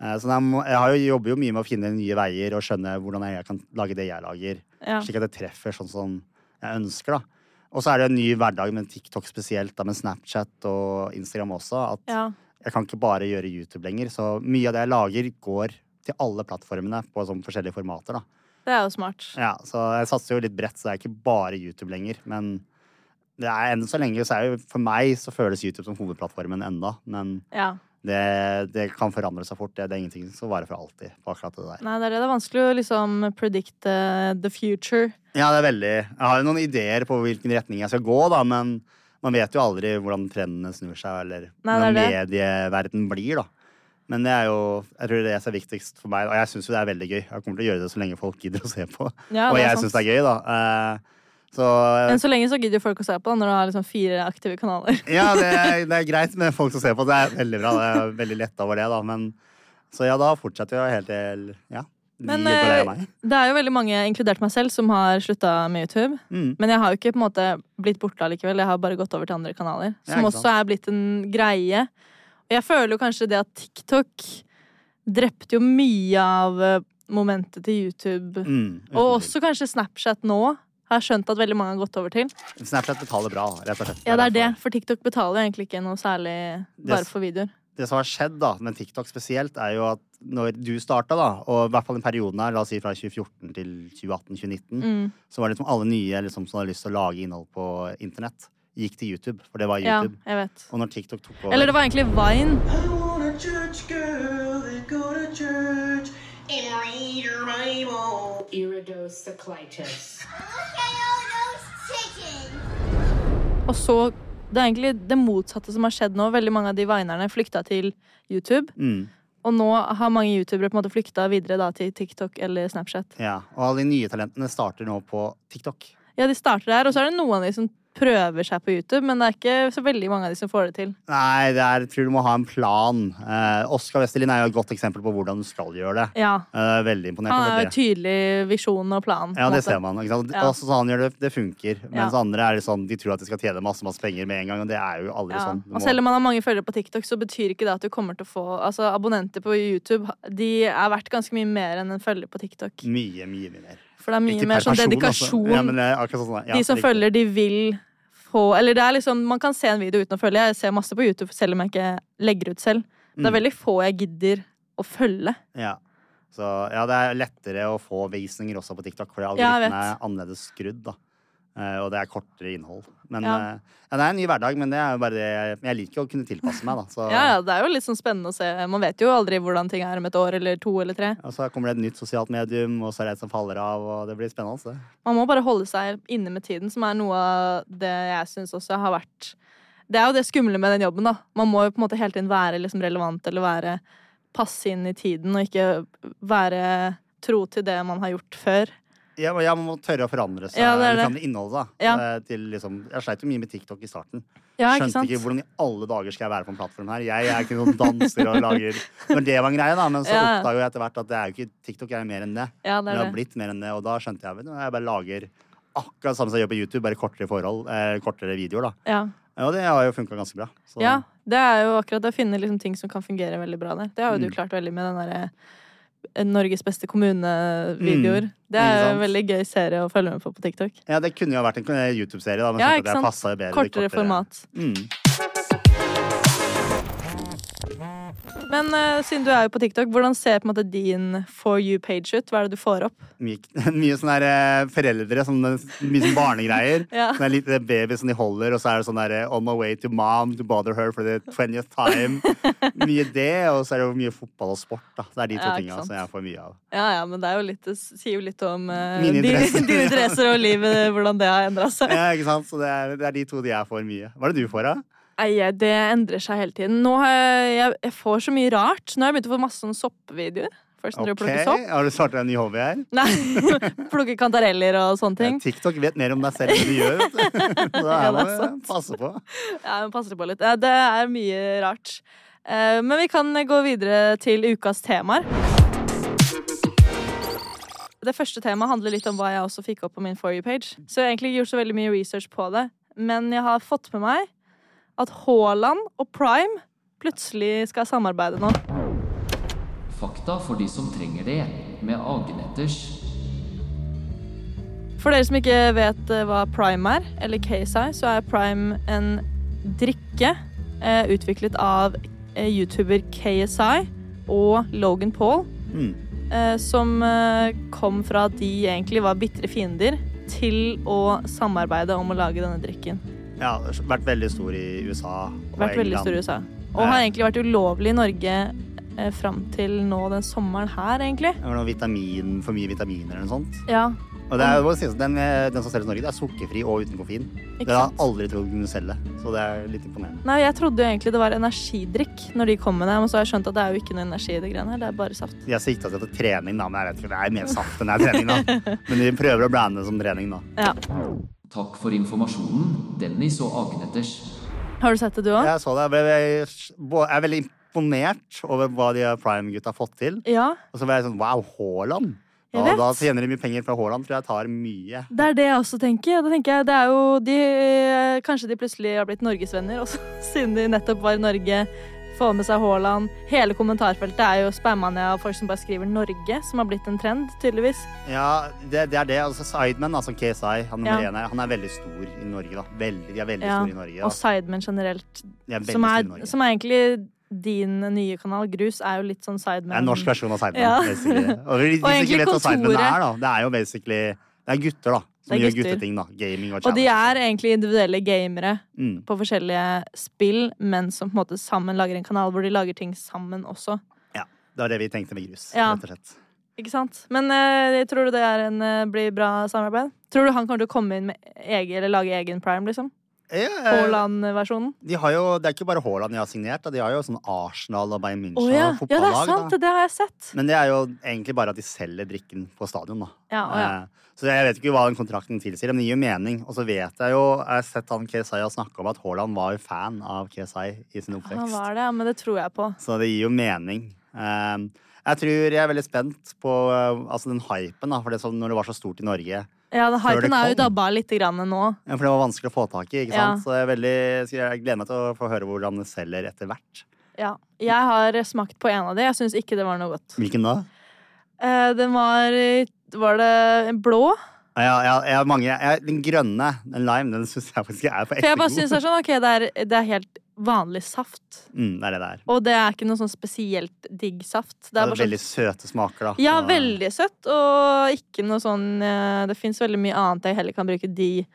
[SPEAKER 2] Eh, så jeg, må, jeg har jo, jobber jo mye med å finne nye veier og skjønne hvordan jeg kan lage det jeg lager.
[SPEAKER 1] Ja.
[SPEAKER 2] slik at det treffer sånn som jeg ønsker. da. Og så er det en ny hverdag med TikTok spesielt, da, med Snapchat og Instagram også. At
[SPEAKER 1] Ja.
[SPEAKER 2] jeg kan ikke bare gjøre YouTube lenger. Så mye av det jeg lager, går til alle plattformene på sånn forskjellige formater. da.
[SPEAKER 1] Det er jo smart.
[SPEAKER 2] Ja, Så jeg satser jo litt bredt, så det er ikke bare YouTube lenger. Men det er enn så lenge, så er jo for meg så føles YouTube som hovedplattformen enda. Men
[SPEAKER 1] Ja.
[SPEAKER 2] det, det kan forandre seg fort. Det, det er ingenting som varer for alltid på akkurat det der.
[SPEAKER 1] Nei, det er det. Det er vanskelig å liksom predict eh, the future.
[SPEAKER 2] Ja, det er veldig Jeg har jo noen ideer på hvilken retning jeg skal gå, da, men man vet jo aldri hvordan trendene snur seg, eller
[SPEAKER 1] Nei,
[SPEAKER 2] hvordan
[SPEAKER 1] det
[SPEAKER 2] medieverden blir, da. Men det er jo Jeg tror det er det som er viktigst for meg, og jeg syns jo det er veldig gøy. Jeg kommer til å gjøre det så lenge folk gidder å se på.
[SPEAKER 1] Ja,
[SPEAKER 2] og
[SPEAKER 1] det er
[SPEAKER 2] jeg
[SPEAKER 1] sant.
[SPEAKER 2] syns det er gøy, da. Eh, så
[SPEAKER 1] Men så lenge så gidder jo folk å se på da, når du har liksom fire aktive kanaler.
[SPEAKER 2] Ja, det er, det er greit med folk som ser på. Det er veldig bra. Jeg er veldig letta over det, da. Men så ja, da fortsetter jeg helt til Ja.
[SPEAKER 1] Men
[SPEAKER 2] vi på deg
[SPEAKER 1] eh,
[SPEAKER 2] og meg.
[SPEAKER 1] det er jo veldig mange, inkludert meg selv, som har slutta med YouTube.
[SPEAKER 2] Mm.
[SPEAKER 1] Men jeg har jo ikke på en måte blitt borte allikevel. Jeg har bare gått over til andre kanaler.
[SPEAKER 2] Ja,
[SPEAKER 1] Som
[SPEAKER 2] ikke
[SPEAKER 1] også
[SPEAKER 2] sant.
[SPEAKER 1] er blitt en greie. Og jeg føler jo kanskje det at TikTok drepte jo mye av eh, momentet til YouTube.
[SPEAKER 2] Mm, uten
[SPEAKER 1] og
[SPEAKER 2] tvil.
[SPEAKER 1] også kanskje Snapchat nå. Har jeg skjønt at veldig mange har gått over til.
[SPEAKER 2] Snapchat betaler bra, rett og slett.
[SPEAKER 1] Ja, det er det.
[SPEAKER 2] derfor.
[SPEAKER 1] For TikTok betaler jo egentlig ikke noe særlig bare
[SPEAKER 2] s-
[SPEAKER 1] for videoer.
[SPEAKER 2] det som har skjedd da, med TikTok spesielt, er jo at når du starta, da, og i hvert fall den perioden her, la oss si fra 2014 til 2018-2019,
[SPEAKER 1] Mm.
[SPEAKER 2] så var det liksom alle nye liksom, som hadde lyst til å lage innhold på internett, gikk til YouTube, for det var
[SPEAKER 1] Ja,
[SPEAKER 2] YouTube.
[SPEAKER 1] jeg vet.
[SPEAKER 2] Og når TikTok tok over
[SPEAKER 1] Eller det var egentlig Vine.
[SPEAKER 3] I want a church girl that go to church and read her Bible.
[SPEAKER 4] iridocyclitis.
[SPEAKER 5] Look at all those chickens!
[SPEAKER 1] Og så Det er egentlig det motsatte som har skjedd nå. Veldig mange av de vinerne flykta til YouTube.
[SPEAKER 2] Mm.
[SPEAKER 1] Og nå har mange youtubere på en måte flykta videre da til TikTok eller Snapchat.
[SPEAKER 2] Ja, Og alle de nye talentene starter nå på TikTok.
[SPEAKER 1] Ja, de starter der, og så er det noen av de som prøver seg på YouTube, men det er ikke så veldig mange av de som får det til.
[SPEAKER 2] Nei, det er, jeg tror du må ha en plan. Eh, Oskar Westerlin er jo et godt eksempel på hvordan du skal gjøre det.
[SPEAKER 1] Ja.
[SPEAKER 2] Eh, veldig imponert
[SPEAKER 1] Han
[SPEAKER 2] over
[SPEAKER 1] har
[SPEAKER 2] det.
[SPEAKER 1] jo tydelig visjon og plan. på
[SPEAKER 2] Ja,
[SPEAKER 1] en
[SPEAKER 2] det
[SPEAKER 1] måte.
[SPEAKER 2] ser man. Ikke sant?
[SPEAKER 1] Ja.
[SPEAKER 2] Altså, sånn han gjør det, det funker. Mens
[SPEAKER 1] Ja.
[SPEAKER 2] andre er det sånn, de tror at de skal tjene masse masse penger med en gang, og det er jo aldri
[SPEAKER 1] Ja.
[SPEAKER 2] sånn. Du
[SPEAKER 1] Og
[SPEAKER 2] må-
[SPEAKER 1] selv om man har mange følgere på TikTok, så betyr ikke det at du kommer til å få Altså, abonnenter på YouTube de er verdt ganske mye mer enn en følger på TikTok.
[SPEAKER 2] Mye, mye mer.
[SPEAKER 1] For det er mye mer sånn dedikasjon.
[SPEAKER 2] Altså. Ja, men det er akkurat sånn, ja,
[SPEAKER 1] de som
[SPEAKER 2] riktig.
[SPEAKER 1] følger, de vil få Eller det er liksom, man kan se en video uten å følge. Jeg ser masse på YouTube selv om jeg ikke legger ut selv. Det er
[SPEAKER 2] Mm.
[SPEAKER 1] veldig få jeg gidder å følge.
[SPEAKER 2] Ja. Så ja, det er lettere å få visninger også på TikTok, fordi
[SPEAKER 1] Ja, jeg
[SPEAKER 2] algoritmen
[SPEAKER 1] vet.
[SPEAKER 2] er annerledes skrudd, da. Eh, og det er kortere innhold. Men
[SPEAKER 1] Ja.
[SPEAKER 2] eh, ja, det er en ny hverdag, men det er jo bare det jeg- jeg liker å kunne tilpasse meg. da. Så,
[SPEAKER 1] Ja, ja, det er jo litt sånn spennende å se. Man vet jo aldri hvordan ting er om et år eller to eller tre.
[SPEAKER 2] Og så kommer det et nytt sosialt medium, og så er det et som faller av, og det blir spennende. altså. det.
[SPEAKER 1] Man må bare holde seg inne med tiden, som er noe av det jeg syns også har vært Det er jo det skumle med den jobben, da. Man må jo på en måte hele tiden være liksom relevant eller være passe inn i tiden, og ikke være tro til det man har gjort før.
[SPEAKER 2] Ja, men jeg må tørre å forandre seg.
[SPEAKER 1] Ja, det er
[SPEAKER 2] eller
[SPEAKER 1] det.
[SPEAKER 2] forandre innholdet, da.
[SPEAKER 1] Ja.
[SPEAKER 2] Eh, Til, liksom, jeg sleit jo mye med TikTok i starten.
[SPEAKER 1] Ja, ikke
[SPEAKER 2] Skjønte
[SPEAKER 1] sant?
[SPEAKER 2] ikke hvordan i alle dager skal jeg være på en plattform her. Jeg, er ikke noen danser og lager Men det var en greie, da. Men så
[SPEAKER 1] Ja.
[SPEAKER 2] oppdaga jeg etter hvert at det er jo ikke TikTok er mer enn det.
[SPEAKER 1] Ja, det er
[SPEAKER 2] Men har
[SPEAKER 1] det.
[SPEAKER 2] blitt mer enn det, og da skjønte jeg vel, Jeg bare lager akkurat samme som jeg gjør på YouTube, bare kortere forhold, eh, kortere videoer, da.
[SPEAKER 1] Ja.
[SPEAKER 2] Og det har jo funka ganske bra. Så
[SPEAKER 1] ja. Det er jo akkurat det å finne liksom ting som kan fungere veldig bra der. Det har jo du klart veldig med den derre Norges beste kommune-videoer. Det er jo en veldig gøy serie å følge med på på TikTok.
[SPEAKER 2] ja, det kunne jo vært en eh, YouTube-serie, da, men
[SPEAKER 1] Ja,
[SPEAKER 2] skjønte
[SPEAKER 1] ikke
[SPEAKER 2] at jeg
[SPEAKER 1] sant?
[SPEAKER 2] passet bedre i Mm.
[SPEAKER 1] Kortere format. Men eh, siden du er jo på TikTok, hvordan ser på en måte din for you page ut? Hva er det du får opp?
[SPEAKER 2] mye, mye sånne der, eh, foreldre, sånn, mye sånn barnegreier.
[SPEAKER 1] Ja.
[SPEAKER 2] Sånn en liten baby som de holder, og så er det sånn der eh, On my way to mom to bother her for the 20th time. Mye det, og så er det jo mye fotball og sport. da. Så det er de to
[SPEAKER 1] Ja, ikke
[SPEAKER 2] tinga
[SPEAKER 1] sant.
[SPEAKER 2] som jeg får mye av.
[SPEAKER 1] Ja, ja, men det, er jo litt, det sier jo litt om eh,
[SPEAKER 2] Mine
[SPEAKER 1] dine,
[SPEAKER 2] interesser.
[SPEAKER 1] dine interesser og livet, hvordan det har endra seg.
[SPEAKER 2] Ja, ikke sant? Så det er, det er de to de jeg får mye. Hva er det du får, da?
[SPEAKER 1] Nei, jeg- det endrer seg hele tiden. Nå har jeg, jeg, jeg får så mye rart. Nå har jeg begynt å få masse sånne soppvideoer. Først når
[SPEAKER 2] Ok,
[SPEAKER 1] du plukker sopp.
[SPEAKER 2] Har du startet en ny hobby her?
[SPEAKER 1] Nei, plukke kantareller og sånne ting.
[SPEAKER 2] TikTok vet mer om deg selv enn du gjør. vet du.
[SPEAKER 1] Ja,
[SPEAKER 2] Da er
[SPEAKER 1] det er
[SPEAKER 2] man eh,
[SPEAKER 1] sant.
[SPEAKER 2] passe på.
[SPEAKER 1] Ja, men passer på litt. Ja, Det er mye rart. Eh, Men vi kan gå videre til ukas temaer. Det første temaet handler litt om hva jeg også fikk opp på min For you-page. Så jeg har egentlig ikke gjort så veldig mye research på det. Men jeg har fått med meg at Haaland og Prime plutselig skal samarbeide nå.
[SPEAKER 6] Fakta for de som trenger det, med Agnetters.
[SPEAKER 1] For dere som ikke vet eh, hva Prime er, eller KSI, så er Prime en drikke eh, utviklet av eh, YouTuber KSI og Logan Paul. Eh, som eh, kom fra at de egentlig var bitre fiender, til å samarbeide om å lage denne drikken.
[SPEAKER 2] Ja, vært veldig stor i USA og
[SPEAKER 1] Vært veldig
[SPEAKER 2] England.
[SPEAKER 1] stor i USA. Og har egentlig vært ulovlig i Norge eh, fram til nå den sommeren her, egentlig.
[SPEAKER 2] Det var noe vitamin, for mye vitaminer eller noe sånt.
[SPEAKER 1] Ja,
[SPEAKER 2] Og det er jo bare å si at den, eh, den som selges i Norge, det er sukkerfri og uten koffein. Det har jeg
[SPEAKER 1] sant?
[SPEAKER 2] aldri trodd kunne selge, så det er litt imponerende.
[SPEAKER 1] Nei, jeg trodde jo egentlig det var energidrikk når de kom med det, men så har jeg skjønt at det er jo ikke noe energi i det greiene her, det er bare saft.
[SPEAKER 2] De har sikta seg til trening, da, men jeg vet ikke, det er mer saft enn det er trening, da. Men de prøver å blande det som trening, da.
[SPEAKER 1] Ja.
[SPEAKER 6] Takk for informasjonen, Dennis og Agnetters.
[SPEAKER 1] Har du sett det, du òg?
[SPEAKER 2] Jeg så det, jeg, ble, jeg er veldig imponert over hva de Prime-gutta har fått til.
[SPEAKER 1] Ja.
[SPEAKER 2] Og så ble jeg sånn wow, Haaland!
[SPEAKER 1] Jeg
[SPEAKER 2] Da,
[SPEAKER 1] vet.
[SPEAKER 2] da tjener de mye penger fra Haaland, tror jeg tar mye.
[SPEAKER 1] Det er det jeg også tenker. Da tenker jeg, det er jo de, eh, Kanskje de plutselig har blitt norgesvenner også, siden de nettopp var i Norge. Får med seg Haaland. Hele kommentarfeltet er jo spamma ned av folk som bare skriver Norge, som har blitt en trend, tydeligvis.
[SPEAKER 2] Ja, det, det er det. Altså, Sideman, altså KSI, han nummer
[SPEAKER 1] Ja.
[SPEAKER 2] én her, han er veldig stor i Norge, da. Veldig, de er veldig
[SPEAKER 1] Ja.
[SPEAKER 2] store i Norge.
[SPEAKER 1] Og
[SPEAKER 2] Da.
[SPEAKER 1] Sidemen generelt,
[SPEAKER 2] De er veldig
[SPEAKER 1] som
[SPEAKER 2] store i
[SPEAKER 1] er,
[SPEAKER 2] Norge.
[SPEAKER 1] som er egentlig din nye kanal, Grus, er jo litt sånn Sidemen.
[SPEAKER 2] Det er en norsk versjon av Sidemen.
[SPEAKER 1] Ja.
[SPEAKER 2] basically. Og, de, de,
[SPEAKER 1] Og
[SPEAKER 2] som
[SPEAKER 1] egentlig
[SPEAKER 2] ikke vet hva Sidemen
[SPEAKER 1] kontoret.
[SPEAKER 2] er, da. Det er jo basically Det er gutter, da. Som
[SPEAKER 1] Det er
[SPEAKER 2] gjør
[SPEAKER 1] gutter.
[SPEAKER 2] gutteting, da. Gaming og
[SPEAKER 1] Og de
[SPEAKER 2] challenges.
[SPEAKER 1] er egentlig individuelle gamere
[SPEAKER 2] Mm.
[SPEAKER 1] på forskjellige spill, men som på en måte sammen lager en kanal hvor de lager ting sammen også.
[SPEAKER 2] Ja, det var det vi tenkte med grus,
[SPEAKER 1] Ja.
[SPEAKER 2] rett og slett.
[SPEAKER 1] Ikke sant? Men eh, tror du det er en, eh, blir bra samarbeid? Tror du han kommer til å komme inn med egen, eller lage egen prime, liksom?
[SPEAKER 2] Ja, eh,
[SPEAKER 1] Haaland-versjonen?
[SPEAKER 2] de har jo, det er ikke bare Haaland de har signert, da. de har jo sånn Arsenal og Bayern
[SPEAKER 1] Å
[SPEAKER 2] München
[SPEAKER 1] ja.
[SPEAKER 2] og
[SPEAKER 1] ja, det er
[SPEAKER 2] fotballag.
[SPEAKER 1] sant!
[SPEAKER 2] da.
[SPEAKER 1] Det har jeg sett.
[SPEAKER 2] Men det er jo egentlig bare at de selger drikken på stadion, da.
[SPEAKER 1] Ja, å ja.
[SPEAKER 2] Eh, Så jeg vet ikke hva den kontrakten tilsier, men det gir jo mening. Og så vet jeg jo, jeg har sett han KSI snakke om at Haaland var jo fan av KSI i sin oppvekst.
[SPEAKER 1] Han var det, ja, men det tror jeg på.
[SPEAKER 2] Så det gir jo mening. Ehm, jeg tror jeg er veldig spent på eh, altså den hypen, da, for det som når det var så stort i Norge.
[SPEAKER 1] Ja, den
[SPEAKER 2] Før det
[SPEAKER 1] hypen er jo
[SPEAKER 2] kom.
[SPEAKER 1] dabba litt grann nå.
[SPEAKER 2] Ja, For det var vanskelig å få tak i. ikke
[SPEAKER 1] Ja.
[SPEAKER 2] sant? Så jeg, er veldig, så jeg gleder meg til å få høre hvordan det selger etter hvert.
[SPEAKER 1] Ja. Jeg har smakt på en av de. Jeg syns ikke det var noe godt.
[SPEAKER 2] Hvilken da?
[SPEAKER 1] Eh, den var eh, Var det blå?
[SPEAKER 2] Ja, ja, ja, jeg har mange, jeg, den grønne, den lime, den syns jeg faktisk er
[SPEAKER 1] For
[SPEAKER 2] på ekte
[SPEAKER 1] jeg bare syns det
[SPEAKER 2] god.
[SPEAKER 1] er sånn, ok, det er, det er helt vanlig saft.
[SPEAKER 2] Mm, det er det det er.
[SPEAKER 1] Og det er ikke noe sånn spesielt digg saft. Det
[SPEAKER 2] Det
[SPEAKER 1] er
[SPEAKER 2] er
[SPEAKER 1] bare sånn
[SPEAKER 2] veldig søte smaker, da.
[SPEAKER 1] Ja,
[SPEAKER 2] Og-
[SPEAKER 1] veldig søtt, og ikke noe sånn eh, Det fins veldig mye annet jeg heller kan bruke de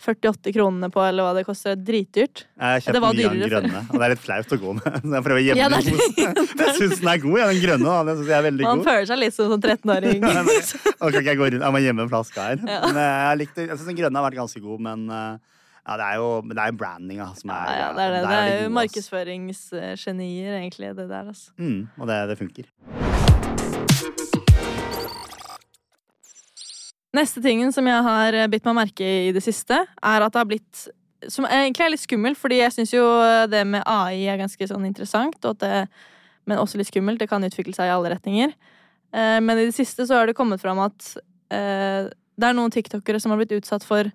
[SPEAKER 1] 48 kronene på, eller hva det koster. Det er Dritdyrt.
[SPEAKER 2] Jeg har
[SPEAKER 1] Det
[SPEAKER 2] kjøpt
[SPEAKER 1] var
[SPEAKER 2] mye av den
[SPEAKER 1] dyrere før.
[SPEAKER 2] grønne, og det er litt flaut å gå med. Så jeg prøver å gjemme
[SPEAKER 1] Ja,
[SPEAKER 2] den
[SPEAKER 1] det er
[SPEAKER 2] i posen. Men Jeg syns den er god, ja, den grønne. da. Den synes jeg er veldig
[SPEAKER 1] Man
[SPEAKER 2] god.
[SPEAKER 1] føler seg litt som sånn en 13-åring.
[SPEAKER 2] Jeg bare, «Å, kan ikke jeg, gå rundt? jeg må gjemme en flaske her. Men eh, jeg, likte, jeg syns den grønne har vært ganske god, men eh, ja, det er jo, men det er jo brandinga som er eh,
[SPEAKER 1] Ja, ja, det er det.
[SPEAKER 2] der
[SPEAKER 1] Det er jo
[SPEAKER 2] gode, ass.
[SPEAKER 1] markedsføringsgenier, egentlig, det der, altså.
[SPEAKER 2] Mm, og det, det funker.
[SPEAKER 1] Neste tingen som jeg har eh, bitt meg merke i det siste, er at det har blitt Som egentlig er litt skummelt, fordi jeg syns jo eh, det med AI er ganske sånn interessant, og at det, men også litt skummelt. Det kan utvikle seg i alle retninger. Eh, Men i det siste så har det kommet fram at eh, det er noen tiktokere som har blitt utsatt for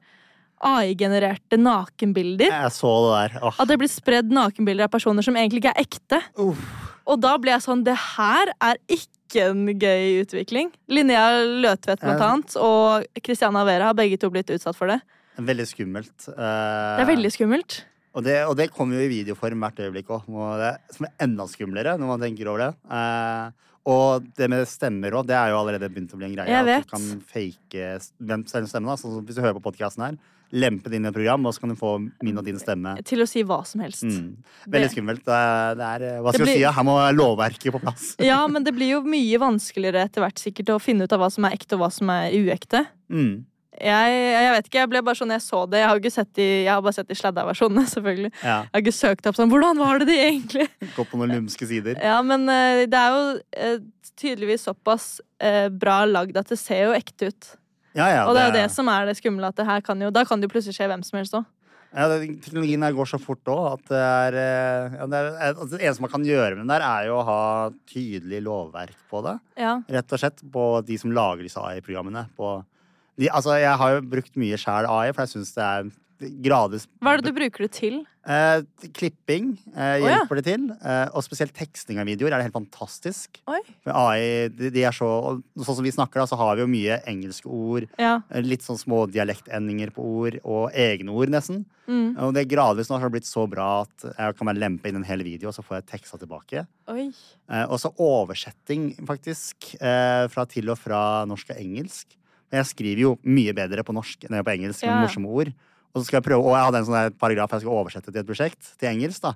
[SPEAKER 1] AI-genererte nakenbilder.
[SPEAKER 2] Jeg så det der. Åh.
[SPEAKER 1] At det blir spredd nakenbilder av personer som egentlig ikke er ekte.
[SPEAKER 2] Uff.
[SPEAKER 1] Og da ble jeg sånn Det her er ikke en gøy utvikling. Linnea Løtvedt blant
[SPEAKER 2] Ja.
[SPEAKER 1] annet og Christiana Vera har begge to blitt utsatt for det.
[SPEAKER 2] Veldig skummelt. eh,
[SPEAKER 1] Det er veldig skummelt.
[SPEAKER 2] Og det, og det kommer jo i videoform hvert øyeblikk òg, som er enda skumlere når man tenker over det. Eh, og det med stemmer òg, det er jo allerede begynt å bli en greie.
[SPEAKER 1] Jeg
[SPEAKER 2] at
[SPEAKER 1] vet.
[SPEAKER 2] du kan fake s- hvem selv stemmen, da. Sånn som hvis du hører på podkasten her, lempe det inn i et program, og så kan du få min og din stemme.
[SPEAKER 1] Til å si hva som helst.
[SPEAKER 2] Mm. Veldig
[SPEAKER 1] Det-
[SPEAKER 2] skummelt. Det er, det er, hva
[SPEAKER 1] Det
[SPEAKER 2] skal jeg si?
[SPEAKER 1] blir-
[SPEAKER 2] da? Her må lovverket på plass.
[SPEAKER 1] Ja, men det blir jo mye vanskeligere etter hvert sikkert å finne ut av hva som er ekte og hva som er uekte.
[SPEAKER 2] Mm.
[SPEAKER 1] Jeg, jeg vet ikke, jeg ble bare sånn jeg så det. Jeg har, jo ikke sett de, jeg har bare sett de sladda versjonene, selvfølgelig.
[SPEAKER 2] Ja.
[SPEAKER 1] Jeg har ikke søkt opp sånn Hvordan var det de egentlig?
[SPEAKER 2] Gå på noen lumske sider.
[SPEAKER 1] Ja, men eh, det er jo eh, tydeligvis såpass eh, bra lagd at det ser jo ekte ut.
[SPEAKER 2] Ja, ja,
[SPEAKER 1] Og det er jo det som er det skumle. At det her kan jo, da kan det jo plutselig skje hvem som helst òg.
[SPEAKER 2] Ja, det, teknologien her går så fort òg at det er, eh, ja, det, er altså, det eneste man kan gjøre med den der, er jo å ha tydelig lovverk på det.
[SPEAKER 1] Ja.
[SPEAKER 2] Rett og slett på de som lager disse AI-programmene. På de, altså, jeg har jo brukt mye sjæl AI, for jeg syns det er gradvis
[SPEAKER 1] Hva er det du bruker det til?
[SPEAKER 2] Eh, klipping eh,
[SPEAKER 1] Å, ja.
[SPEAKER 2] hjelper det til. Eh, og spesielt teksting av videoer er det helt fantastisk.
[SPEAKER 1] Oi.
[SPEAKER 2] For AI, de, de er så og Sånn som vi snakker, da, så har vi jo mye engelske ord.
[SPEAKER 1] Ja.
[SPEAKER 2] Eh, Litt sånn små dialektendinger på ord, og egne ord, nesten. Og det gradvis nå har det blitt så bra at jeg kan bare lempe inn en hel video, og så får jeg teksta tilbake.
[SPEAKER 1] Oi.
[SPEAKER 2] Eh, også oversetting, faktisk, eh, fra til og fra norsk og engelsk. Men jeg skriver jo mye bedre på norsk enn jeg gjør på engelsk, med
[SPEAKER 1] Ja.
[SPEAKER 2] morsomme ord. Og så skal jeg prøve, og jeg hadde en sånn der paragraf jeg skulle oversette til et prosjekt, til engelsk, da.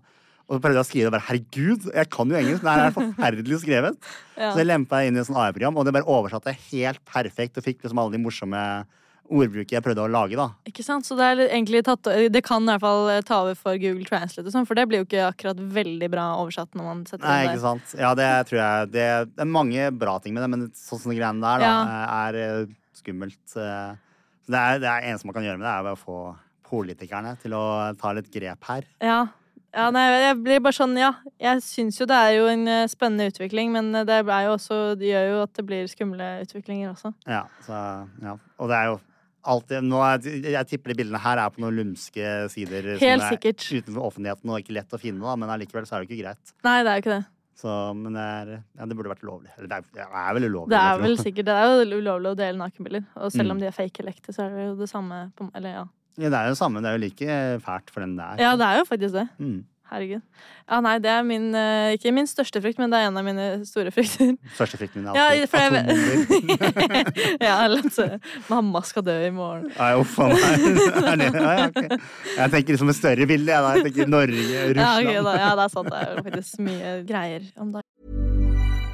[SPEAKER 2] Og så prøvde jeg å skrive det bare, herregud, jeg kan jo engelsk, det her er forferdelig skrevet.
[SPEAKER 1] Ja.
[SPEAKER 2] Så jeg lempet jeg inn i et sånt AI-program, og det bare oversatte helt perfekt, og fikk liksom alle de morsomme ordbrukene jeg prøvde å lage, da.
[SPEAKER 1] Ikke sant? Så det, er litt- egentlig tatt, det kan i hvert fall eh, ta over for Google Translate, og sånn, for det blir jo ikke akkurat veldig bra oversatt når man setter
[SPEAKER 2] Nei,
[SPEAKER 1] det
[SPEAKER 2] ikke
[SPEAKER 1] der.
[SPEAKER 2] sant. Ja, det tror jeg Det, det er mange bra ting med det, men sånn som de greiene der, da, er eh, skummelt. eh. Så det er det er eneste man kan gjøre med det, er ved å få politikerne til å ta litt grep her.
[SPEAKER 1] Ja. Ja, nei, jeg blir bare sånn, ja. Jeg syns jo det er jo en eh, spennende utvikling, men eh, det, er jo også, det gjør jo at det blir skumle utviklinger også.
[SPEAKER 2] Ja, så, ja. Og det er jo alltid nå er, Jeg tipper de bildene her er på noen lumske sider
[SPEAKER 1] Helt
[SPEAKER 2] som er
[SPEAKER 1] sikkert.
[SPEAKER 2] utenfor offentligheten og ikke lett å finne, da, men allikevel så er det jo ikke greit.
[SPEAKER 1] Nei, det er jo ikke det.
[SPEAKER 2] Så, men det, er, ja, det burde vært lovlig. Eller det er, det er vel ulovlig.
[SPEAKER 1] Det
[SPEAKER 2] vil jeg
[SPEAKER 1] er
[SPEAKER 2] tro.
[SPEAKER 1] vel sikkert, det er jo ulovlig å dele nakenbilder, og
[SPEAKER 2] Mm.
[SPEAKER 1] selv om de er fake eller ekte, så er det jo det samme på, Eller ja.
[SPEAKER 2] ja, det er jo det samme. Det er jo like fælt for den det er.
[SPEAKER 1] Ja, det er jo faktisk det.
[SPEAKER 2] Mm.
[SPEAKER 1] Herregud. Ja, nei, det er min eh, Ikke min største frykt, men det er en av mine store frykter.
[SPEAKER 2] Første frykten min er
[SPEAKER 1] Ja,
[SPEAKER 2] alltid
[SPEAKER 1] for jeg
[SPEAKER 2] atombomber.
[SPEAKER 1] ja, eller at eh, mamma skal dø i morgen.
[SPEAKER 2] Nei, uff a meg. Er det- ja, ja, ok. Jeg tenker liksom et større bilde. Jeg, da. jeg tenker Norge,
[SPEAKER 1] Ja, ok,
[SPEAKER 2] Russland.
[SPEAKER 1] da, ja, det er sant. Det er jo faktisk mye greier om dagen.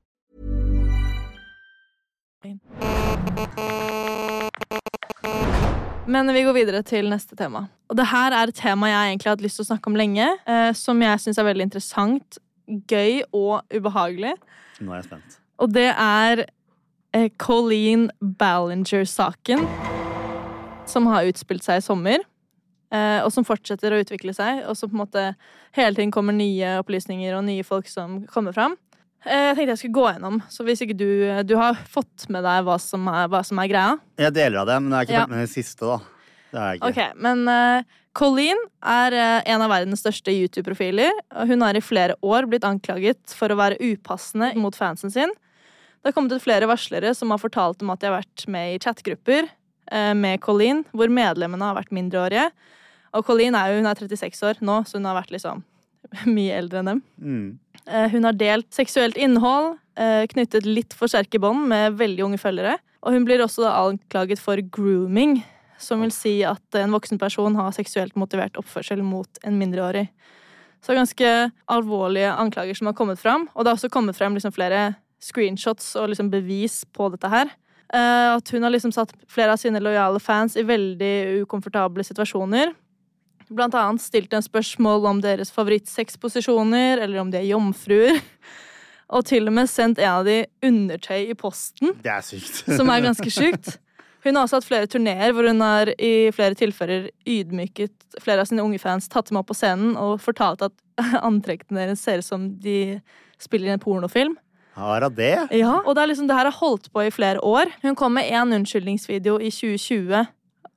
[SPEAKER 1] Men vi går videre til neste tema. Og det her er et tema jeg egentlig har hatt lyst til å snakke om lenge, eh, som jeg syns er veldig interessant, gøy og ubehagelig.
[SPEAKER 2] Nå er jeg spent.
[SPEAKER 1] Og det er eh, Colleen Ballinger-saken, som har utspilt seg i sommer. eh, Og som fortsetter å utvikle seg, og som på en måte hele tiden kommer nye opplysninger og nye folk som kommer fram. Eh, Jeg tenkte jeg skulle gå gjennom, så hvis ikke du, eh, du har fått med deg hva som er, hva som er greia,
[SPEAKER 2] Jeg deler av det, men jeg har ikke
[SPEAKER 1] Ja.
[SPEAKER 2] fulgt med i det siste, da. Det er jeg ikke.
[SPEAKER 1] Ok, men eh, Colleen er eh, en av verdens største YouTube-profiler. og Hun har i flere år blitt anklaget for å være upassende mot fansen sin. Det har kommet ut flere varslere som har fortalt om at de har vært med i chatgrupper eh, med Colleen, hvor medlemmene har vært mindreårige. Og Colleen er jo hun er 36 år nå, så hun har vært liksom mye eldre enn dem.
[SPEAKER 2] Mm.
[SPEAKER 1] Eh, Hun har delt seksuelt innhold, eh, knyttet litt for sterke bånd med veldig unge følgere. Og hun blir også da anklaget for grooming, som vil si at en voksen person har seksuelt motivert oppførsel mot en mindreårig. Så ganske alvorlige anklager som har kommet fram. Og det har også kommet frem liksom flere screenshots og liksom bevis på dette her. Eh, At hun har liksom satt flere av sine lojale fans i veldig ukomfortable situasjoner. Blant annet stilte en spørsmål om deres favorittsexposisjoner, eller om de er jomfruer. Og til og med sendt en av de undertøy i posten,
[SPEAKER 2] Det er sykt.
[SPEAKER 1] som er ganske sjukt. Hun har også hatt flere turneer hvor hun har i flere tilfeller ydmyket flere av sine unge fans, tatt dem opp på scenen og fortalt at antrekkene deres ser ut som de spiller i en pornofilm.
[SPEAKER 2] Har hun det?
[SPEAKER 1] Ja, og det, er liksom, det her har holdt på i flere år. Hun kom med én unnskyldningsvideo i 2020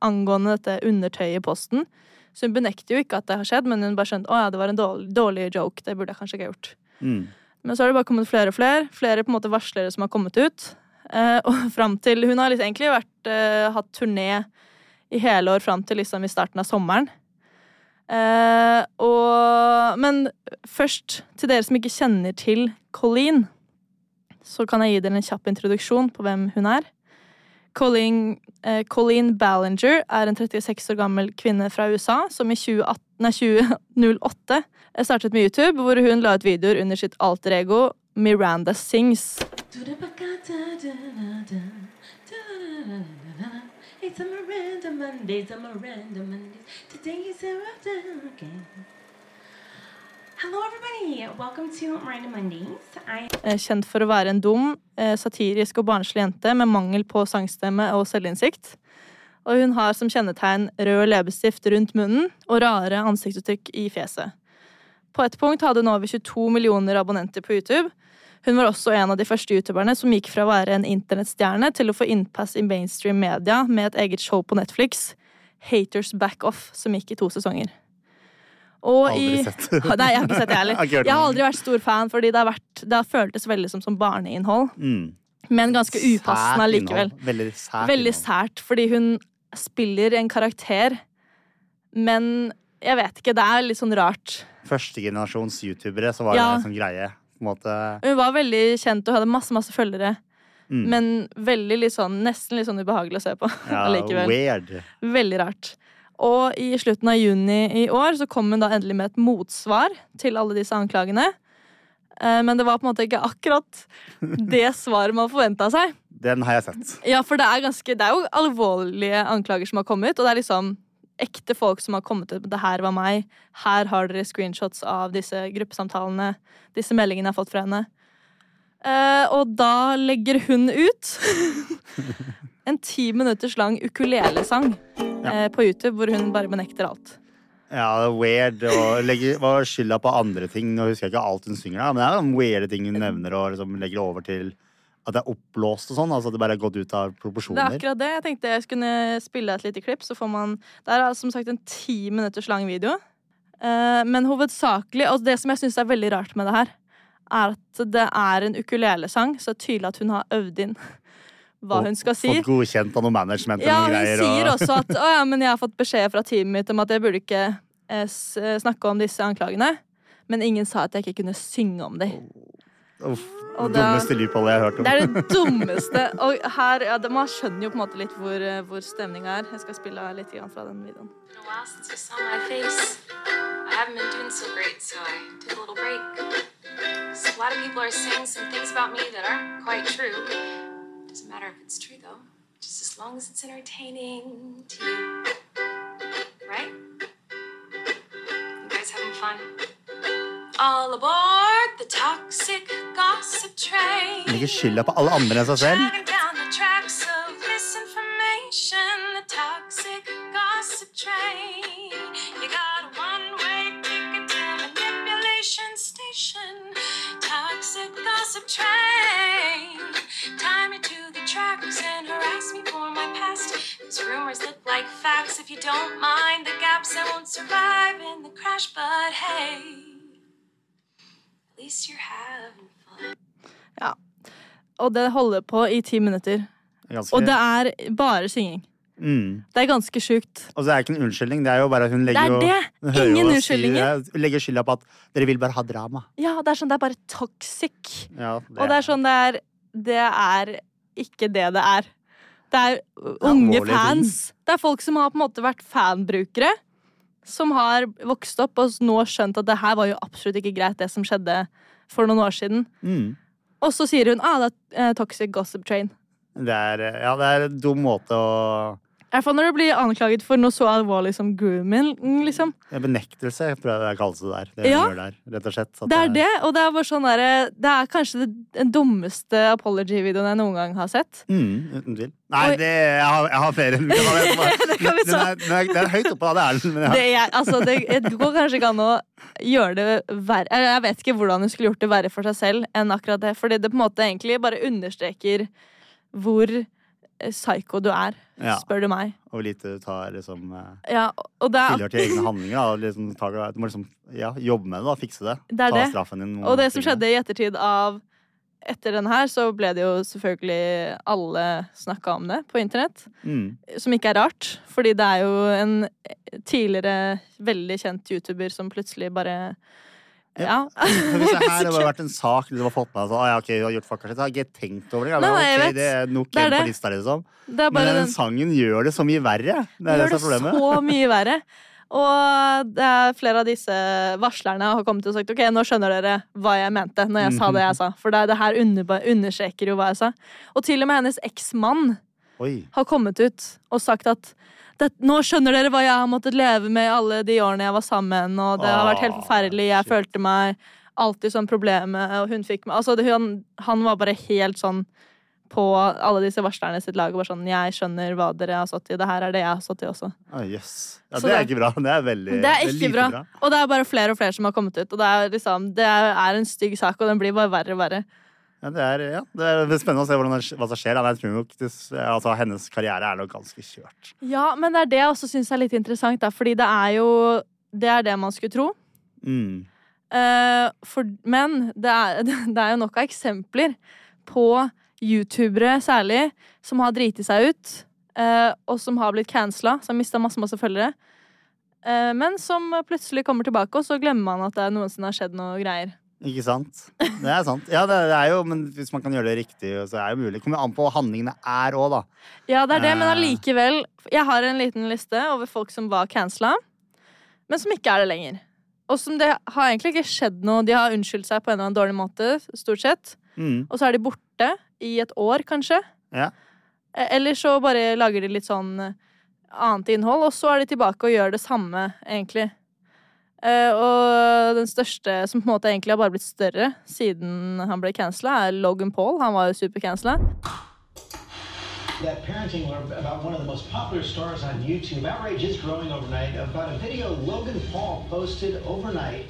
[SPEAKER 1] angående dette undertøyet i posten. Så hun benekter jo ikke at det har skjedd, men hun bare skjønte at ja, det var en dårlig, dårlig joke. Det burde jeg kanskje ikke ha gjort.
[SPEAKER 2] Mm.
[SPEAKER 1] Men så har det bare kommet flere og flere. Flere på en måte varslere som har kommet ut. Eh, og fram til Hun har liksom egentlig vært, eh, hatt turné i hele år fram til liksom i starten av sommeren. Eh, og Men først, til dere som ikke kjenner til Colleen, så kan jeg gi dere en kjapp introduksjon på hvem hun er. Colleen, eh, Colleen Ballinger er en 36 år gammel kvinne fra USA som i 2018, nei, 2008 startet med YouTube, hvor hun la ut videoer under sitt alter ego Miranda Sings.
[SPEAKER 4] It's a Miranda Monday, it's a Miranda Monday. Today is a Miranda again. Hello, everybody. Welcome to Miranda Mondays. I
[SPEAKER 1] eh, kjent for å være en dum, eh, satirisk og barnslig jente med mangel på sangstemme og selvinnsikt. Og hun har som kjennetegn rød leppestift rundt munnen og rare ansiktsuttrykk i fjeset. På et punkt hadde hun over 22 millioner abonnenter på YouTube. Hun var også en av de første youtuberne som gikk fra å være en internettstjerne til å få innpass i mainstream media med et eget show på Netflix, Haters Back Off, som gikk i to sesonger. Og
[SPEAKER 2] Aldri
[SPEAKER 1] i...
[SPEAKER 2] sett.
[SPEAKER 1] Nei, jeg har ikke sett det
[SPEAKER 2] Jeg har ikke
[SPEAKER 1] heller.
[SPEAKER 2] hørt om
[SPEAKER 1] Jeg har
[SPEAKER 2] det.
[SPEAKER 1] aldri vært stor fan, fordi det har, vært, det har føltes veldig som, som barneinnhold.
[SPEAKER 2] Mm.
[SPEAKER 1] Men ganske upassende
[SPEAKER 2] Sært innhold.
[SPEAKER 1] allikevel.
[SPEAKER 2] Veldig sært.
[SPEAKER 1] Veldig sært, fordi hun spiller en karakter, men jeg vet ikke, det er litt sånn rart.
[SPEAKER 2] Førstegenerasjons youtubere, så var
[SPEAKER 1] Ja.
[SPEAKER 2] det en sånn greie. På en måte.
[SPEAKER 1] Hun var veldig kjent og hadde masse, masse følgere,
[SPEAKER 2] Mm.
[SPEAKER 1] men veldig litt sånn, nesten litt sånn ubehagelig å se på
[SPEAKER 2] Ja,
[SPEAKER 1] allikevel.
[SPEAKER 2] weird.
[SPEAKER 1] Veldig rart. Og i slutten av juni i år så kom hun da endelig med et motsvar til alle disse anklagene. Eh, Men det var på en måte ikke akkurat det svaret man forventa seg.
[SPEAKER 2] Den har jeg sett.
[SPEAKER 1] Ja, for det er, ganske, det er jo alvorlige anklager som har kommet, og det er liksom ekte folk som har kommet ut med 'det her var meg', 'her har dere screenshots av disse gruppesamtalene', 'disse meldingene jeg har fått fra henne'. Eh, og da legger hun ut en ti minutters lang ukulelesang eh, på YouTube, hvor hun bare benekter alt.
[SPEAKER 2] Ja, det er weird å legge hva er skylda på andre ting. Nå husker jeg ikke alt hun synger, da, men det er noen weirde ting hun nevner og liksom legger over til At det er oppblåst og sånn? Altså at det bare er gått ut av proporsjoner?
[SPEAKER 1] Det er akkurat det. Jeg tenkte jeg skulle spille et lite klipp. Så får man Det er altså, som sagt en ti minutters lang video. Eh, Men hovedsakelig Og det som jeg syns er veldig rart med det her, er at det er en ukulelesang, så det er tydelig at hun har øvd inn hva hun skal si.
[SPEAKER 2] Fått godkjent av noe management
[SPEAKER 1] Ja,
[SPEAKER 2] og noen
[SPEAKER 1] hun
[SPEAKER 2] greier?
[SPEAKER 1] sier
[SPEAKER 2] og...
[SPEAKER 1] også at Å ja, men jeg har fått beskjed fra teamet mitt om at jeg burde ikke eh, s- eh, snakke om disse anklagene. Men ingen sa at jeg ikke kunne synge om dem.
[SPEAKER 2] Uff,
[SPEAKER 1] Og
[SPEAKER 2] det
[SPEAKER 1] da-
[SPEAKER 2] dummeste lypholdet jeg har hørt om.
[SPEAKER 1] Det er det dummeste. Og her, ja, det- Man skjønner jo på en måte litt hvor, eh, hvor stemninga er. Jeg skal spille av litt grann fra den videoen.
[SPEAKER 7] been a while since you saw my face. I haven't been doing so great, so I took a little break. So a lot of people are saying some things about me that aren't quite true. Doesn't matter if it's true though, just as long as it's entertaining to you. Right? You guys having fun? All aboard the toxic gossip train.
[SPEAKER 2] Legger skylda på alle andre enn seg selv.
[SPEAKER 7] Dragging down the tracks of misinformation, the toxic gossip train. You got a one-way ticket to manipulation station, toxic gossip train. Tie me to the tracks and harass me for my past. These rumors look like facts. If you don't mind the gaps, I won't survive in the crash. But hey, at least you're having fun.
[SPEAKER 1] Ja. Og det holder på i ti minutter.
[SPEAKER 2] Ganske-
[SPEAKER 1] Og det er bare synging.
[SPEAKER 2] Mm.
[SPEAKER 1] Det er ganske sjukt.
[SPEAKER 2] Og så er det ikke en unnskyldning. Det er jo bare at hun legger
[SPEAKER 1] Det er
[SPEAKER 2] jo-
[SPEAKER 1] det.
[SPEAKER 2] hun hører jo
[SPEAKER 1] Ingen
[SPEAKER 2] hva hun sier.
[SPEAKER 1] unnskyldninger.
[SPEAKER 2] Hun legger skylda på at dere vil bare ha drama.
[SPEAKER 1] Ja, det er sånn, det er bare toxic.
[SPEAKER 2] Ja,
[SPEAKER 1] Og det er sånn det er Det er ikke det det er. Det er unge
[SPEAKER 2] alvorlige ting.
[SPEAKER 1] fans. Det er folk som har på en måte vært fanbrukere. Som har vokst opp og nå skjønt at det her var jo absolutt ikke greit, det som skjedde for noen år siden.
[SPEAKER 2] Mm.
[SPEAKER 1] Og så sier hun ah, det er eh, toxic gossip train.
[SPEAKER 2] Det er, ja, det er en dum måte å
[SPEAKER 1] I hvert fall når du blir anklaget for noe så alvorlig som grooming, liksom.
[SPEAKER 2] en Benektelse, prøver jeg å kalle det der. Det
[SPEAKER 1] Ja.
[SPEAKER 2] hun gjør der, rett og slett. At
[SPEAKER 1] Det er det, og det er bare sånn derre Det er kanskje det, den dummeste apology-videoen jeg noen gang har sett.
[SPEAKER 2] Mm, uten tvil. Nei, det, jeg, har, jeg har flere. Det kan vi ta. Den er, den er, den er høyt oppe, da. Det er den. Men
[SPEAKER 1] Det,
[SPEAKER 2] jeg,
[SPEAKER 1] er, altså, det, det går kanskje ikke an å gjøre det verre eller Jeg vet ikke hvordan hun skulle gjort det verre for seg selv enn akkurat det. Fordi det på en måte egentlig bare understreker hvor eh, psycho du er,
[SPEAKER 2] Ja.
[SPEAKER 1] spør du meg.
[SPEAKER 2] og hvor lite du tar liksom eh,
[SPEAKER 1] Ja, og det
[SPEAKER 2] Skylder til egne
[SPEAKER 1] er,
[SPEAKER 2] handlinger. Da. Liksom, tar, du må liksom ja, jobbe med det, da. Fikse det.
[SPEAKER 1] det er
[SPEAKER 2] Ta
[SPEAKER 1] det.
[SPEAKER 2] straffen din.
[SPEAKER 1] Og det som skjedde i ettertid av etter den her, så ble det jo selvfølgelig alle snakka om det på internett.
[SPEAKER 2] Mm.
[SPEAKER 1] Som ikke er rart, fordi det er jo en tidligere veldig kjent YouTuber som plutselig bare Ja.
[SPEAKER 2] Hvis det her hadde vært en sak du har fått med deg så, ah, ja, ok, du har gjort fucka sitt, så har jeg ikke tenkt over det.
[SPEAKER 1] Nei,
[SPEAKER 2] Men,
[SPEAKER 1] nei, jeg
[SPEAKER 2] ok,
[SPEAKER 1] vet.
[SPEAKER 2] det er nok
[SPEAKER 1] Det er
[SPEAKER 2] en på
[SPEAKER 1] det.
[SPEAKER 2] lista, liksom.
[SPEAKER 1] Det er
[SPEAKER 2] Men
[SPEAKER 1] bare
[SPEAKER 2] den,
[SPEAKER 1] den-
[SPEAKER 2] sangen gjør det så mye verre. Det er
[SPEAKER 1] gjør det
[SPEAKER 2] det som er problemet.
[SPEAKER 1] så mye verre. Og det er flere av disse varslerne har kommet og sagt ok, nå skjønner dere hva jeg mente. når jeg sa det
[SPEAKER 2] Mhm.
[SPEAKER 1] jeg sa. For det, det her underba- understreker jo hva jeg sa. Og til og med hennes eksmann
[SPEAKER 2] Oi.
[SPEAKER 1] har kommet ut og sagt at det, nå skjønner dere hva jeg har måttet leve med alle de årene jeg var sammen. og det har vært helt forferdelig, Jeg følte meg alltid sånn problemet, og hun fikk meg altså, det, hun, Han var bare helt sånn på alle disse varslerne sitt lag og bare sånn Jeg skjønner hva dere har stått i. Det her er det jeg har stått i også.
[SPEAKER 2] Ah, yes. Ja,
[SPEAKER 1] Så
[SPEAKER 2] det er
[SPEAKER 1] det-
[SPEAKER 2] ikke bra. Det er veldig
[SPEAKER 1] Det er ikke
[SPEAKER 2] lite
[SPEAKER 1] bra. Og det er bare flere og flere som har kommet ut. Og det er, liksom, det er en stygg sak, og den blir bare verre og verre.
[SPEAKER 2] Ja, det, er, ja, det er spennende å se hvordan, det- hva som skjer. da. Men Jeg tror nok, det, altså, hennes karriere er nok ganske kjørt.
[SPEAKER 1] Ja, men det er det jeg også syns er litt interessant, da, fordi det er jo Det er det man skulle tro.
[SPEAKER 2] Mm.
[SPEAKER 1] Eh, for, men det er, det er jo nok av eksempler på youtubere særlig som har driti seg ut, eh, og som har blitt cancela, som har mista masse, masse følgere. Eh, men som plutselig kommer tilbake, og så glemmer man at det noensinne har skjedd noe greier.
[SPEAKER 2] Ikke sant? Det er sant. Ja, det, det er jo, men hvis man kan gjøre det riktig, så er det jo mulig. Det kommer jo an på hva handlingene er òg, da.
[SPEAKER 1] Ja, det er det, men
[SPEAKER 2] Eh.
[SPEAKER 1] allikevel Jeg har en liten liste over folk som var cancela, men som ikke er det lenger. Og som det har egentlig ikke skjedd noe. De har unnskyldt seg på en eller annen dårlig måte, stort sett.
[SPEAKER 2] Mm.
[SPEAKER 1] Og så er de borte i et år, kanskje.
[SPEAKER 2] Ja.
[SPEAKER 1] Eh, Eller så bare lager de litt sånn eh, annet innhold, og så er de tilbake og gjør det samme, egentlig. Eh, og den største, som på en måte egentlig har bare blitt større siden han ble cancela, er Logan Paul. Han var jo supercancela.
[SPEAKER 8] That parenting were about one of the most popular stars on YouTube. Outrage is growing overnight about a video Logan Paul posted overnight